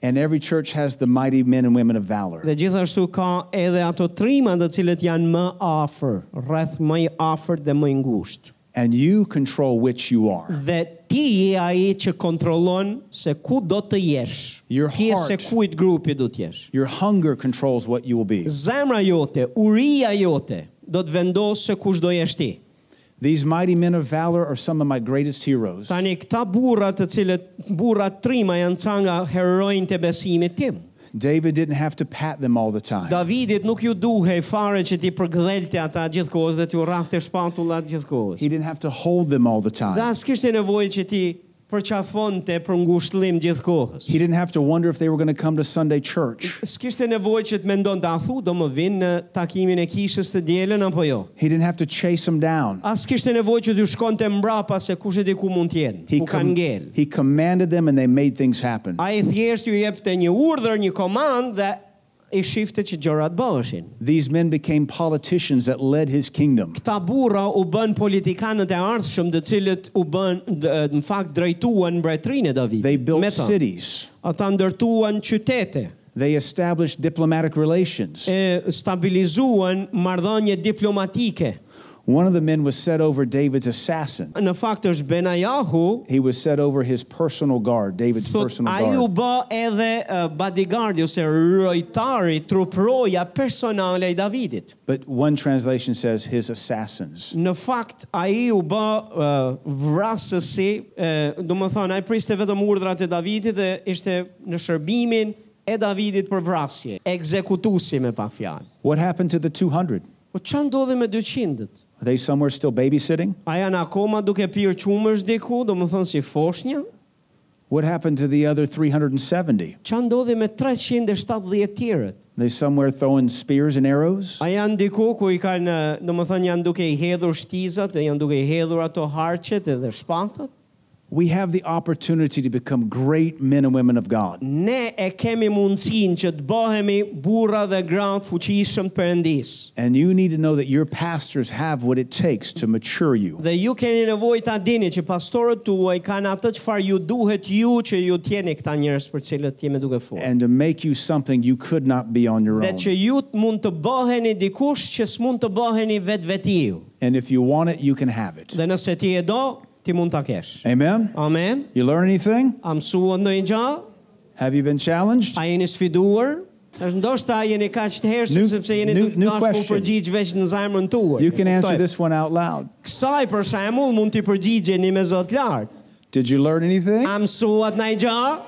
[SPEAKER 2] And every church has the mighty men and women of valor.
[SPEAKER 1] Dhe gjithashtu ka edhe ato trima të cilët janë më afër, rreth më i afërt dhe më i ngushtë.
[SPEAKER 2] And you control which you are.
[SPEAKER 1] Dhe ti je ai që kontrollon se ku do të jesh.
[SPEAKER 2] Your
[SPEAKER 1] Ti je
[SPEAKER 2] heart.
[SPEAKER 1] se kujt grupi do të jesh.
[SPEAKER 2] Your hunger controls what you will be.
[SPEAKER 1] Zemra jote, uria jote do të vendosë se kush do jesh ti.
[SPEAKER 2] These mighty men of valor are some of my greatest heroes.
[SPEAKER 1] Tani këta burra të cilët burra trima janë ca nga heroinët e besimit tim.
[SPEAKER 2] David didn't have to pat them all the time.
[SPEAKER 1] Davidit nuk ju duhej fare që ti përgdhelte ata gjithkohës dhe t'ju rrafte shpatullat gjithkohës.
[SPEAKER 2] He didn't have to hold them all the
[SPEAKER 1] Dhe
[SPEAKER 2] time.
[SPEAKER 1] as kishte nevojë që ti përqafonte për ngushëllim gjithë kohës.
[SPEAKER 2] He didn't have to wonder if they were going to come to Sunday church.
[SPEAKER 1] S'kishte nevojë që të mendon ta thu do më vinë në takimin e kishës të dielën apo jo.
[SPEAKER 2] He didn't have to chase them down.
[SPEAKER 1] As kishte nevojë që të shkonte mbrapa se kush e di ku mund të jenë,
[SPEAKER 2] He,
[SPEAKER 1] ku kanë
[SPEAKER 2] com-
[SPEAKER 1] ngel.
[SPEAKER 2] he commanded them and they made things happen.
[SPEAKER 1] Ai thjesht ju jepte një urdhër, një komandë dhe i shifte që gjërat bëheshin.
[SPEAKER 2] These men became politicians that led his kingdom.
[SPEAKER 1] Këta burra u bën politikanët e ardhshëm, të cilët u bën d- në fakt drejtuan mbretërinë e Davidit.
[SPEAKER 2] They built
[SPEAKER 1] Me ta.
[SPEAKER 2] cities.
[SPEAKER 1] Ata ndërtuan qytete.
[SPEAKER 2] They established diplomatic relations.
[SPEAKER 1] e stabilizuan marrëdhënie diplomatike.
[SPEAKER 2] One of the men was set over David's assassin.
[SPEAKER 1] Në fakt është Benajahu,
[SPEAKER 2] He was set over his personal guard, David's
[SPEAKER 1] thot,
[SPEAKER 2] personal
[SPEAKER 1] ai u
[SPEAKER 2] guard.
[SPEAKER 1] bë edhe uh, bodyguardi ose rojtari, truproja personale i Davidit.
[SPEAKER 2] But one translation says his assassins.
[SPEAKER 1] Në fakt ai u bë uh, vrasësi, uh, do më thonë ai priste vetëm urdhrat e Davidit dhe ishte në shërbimin e Davidit për vrasje, ekzekutusi me pak fjalë.
[SPEAKER 2] What happened to the 200?
[SPEAKER 1] Po ç'a ndodhi me 200-t?
[SPEAKER 2] Are they somewhere still babysitting?
[SPEAKER 1] A janë akoma duke pirë qumësh diku, do më thonë si foshnja?
[SPEAKER 2] What happened to the other 370?
[SPEAKER 1] Qa ndodhi me 370 tjerët?
[SPEAKER 2] They somewhere throwing spears and arrows?
[SPEAKER 1] A janë diku ku i kanë, do më thënë, janë duke i hedhur shtizat, e janë duke i hedhur ato harqet edhe shpatat?
[SPEAKER 2] we have the opportunity to become great men and women of God.
[SPEAKER 1] Ne e kemi mundësin që të bëhemi burra dhe gratë fuqishëm të përëndis.
[SPEAKER 2] And you need to know that your pastors have what it takes to mature you.
[SPEAKER 1] Dhe ju keni nevojë ta dini që pastorët tuaj kanë atë çfarë ju duhet ju që ju t'jeni këta njerëz për cilët jemi duke folur.
[SPEAKER 2] And to make you something you could not be on your
[SPEAKER 1] Dhe
[SPEAKER 2] own.
[SPEAKER 1] që ju të mund të bëheni dikush që s'mund të bëheni vetvetiu.
[SPEAKER 2] And if you want it, you can have it.
[SPEAKER 1] Dhe nëse ti e do, ti mund ta kesh.
[SPEAKER 2] Amen?
[SPEAKER 1] Amen.
[SPEAKER 2] You learn anything?
[SPEAKER 1] A mësuan ndonjë gjë?
[SPEAKER 2] Have you been challenged?
[SPEAKER 1] A jeni sfiduar? Është ndoshta jeni kaq të
[SPEAKER 2] New-
[SPEAKER 1] hershëm sepse jeni
[SPEAKER 2] new-
[SPEAKER 1] duke
[SPEAKER 2] new
[SPEAKER 1] dashur
[SPEAKER 2] question.
[SPEAKER 1] u përgjigj veç në zemrën tuaj.
[SPEAKER 2] You can
[SPEAKER 1] E
[SPEAKER 2] answer
[SPEAKER 1] kuptoj.
[SPEAKER 2] this one out loud.
[SPEAKER 1] Kësaj për shembull mund t'i përgjigjeni me Zot lart.
[SPEAKER 2] Did you learn anything?
[SPEAKER 1] A mësuat ndaj gjë?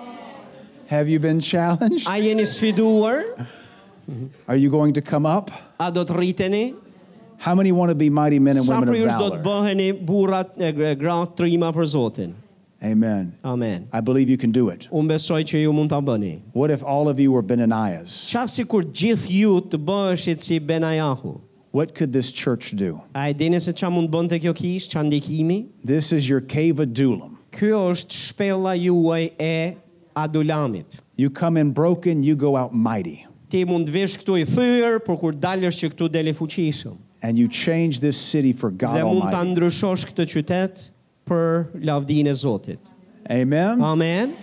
[SPEAKER 2] Have you been challenged?
[SPEAKER 1] A jeni sfiduar?
[SPEAKER 2] Are you going to come up?
[SPEAKER 1] A do të rriteni?
[SPEAKER 2] How many want to be mighty men and
[SPEAKER 1] Sa
[SPEAKER 2] women
[SPEAKER 1] për
[SPEAKER 2] of
[SPEAKER 1] jush do të
[SPEAKER 2] valor?
[SPEAKER 1] bëheni burrat e gr- gratë trima për Zotin.
[SPEAKER 2] Amen.
[SPEAKER 1] Amen.
[SPEAKER 2] I believe you can do it.
[SPEAKER 1] Unë besoj që ju mund ta bëni.
[SPEAKER 2] What if all of you were Benanias?
[SPEAKER 1] Qa si kur gjithë ju të bëheshit si Benajahu?
[SPEAKER 2] What could this church do?
[SPEAKER 1] A e dini se qa mund bënte kjo kish, qa ndikimi?
[SPEAKER 2] This is your cave adullam.
[SPEAKER 1] Kjo është shpella juaj e adulamit.
[SPEAKER 2] You come in broken, you go out mighty,
[SPEAKER 1] Ti mund të vish këtu i thyrë, por kur dalësh që këtu deli fuqishëm.
[SPEAKER 2] and you change this city for God
[SPEAKER 1] Dhe mund ta
[SPEAKER 2] Almighty.
[SPEAKER 1] ndryshosh këtë qytet për lavdinë e Zotit.
[SPEAKER 2] Amen.
[SPEAKER 1] Amen.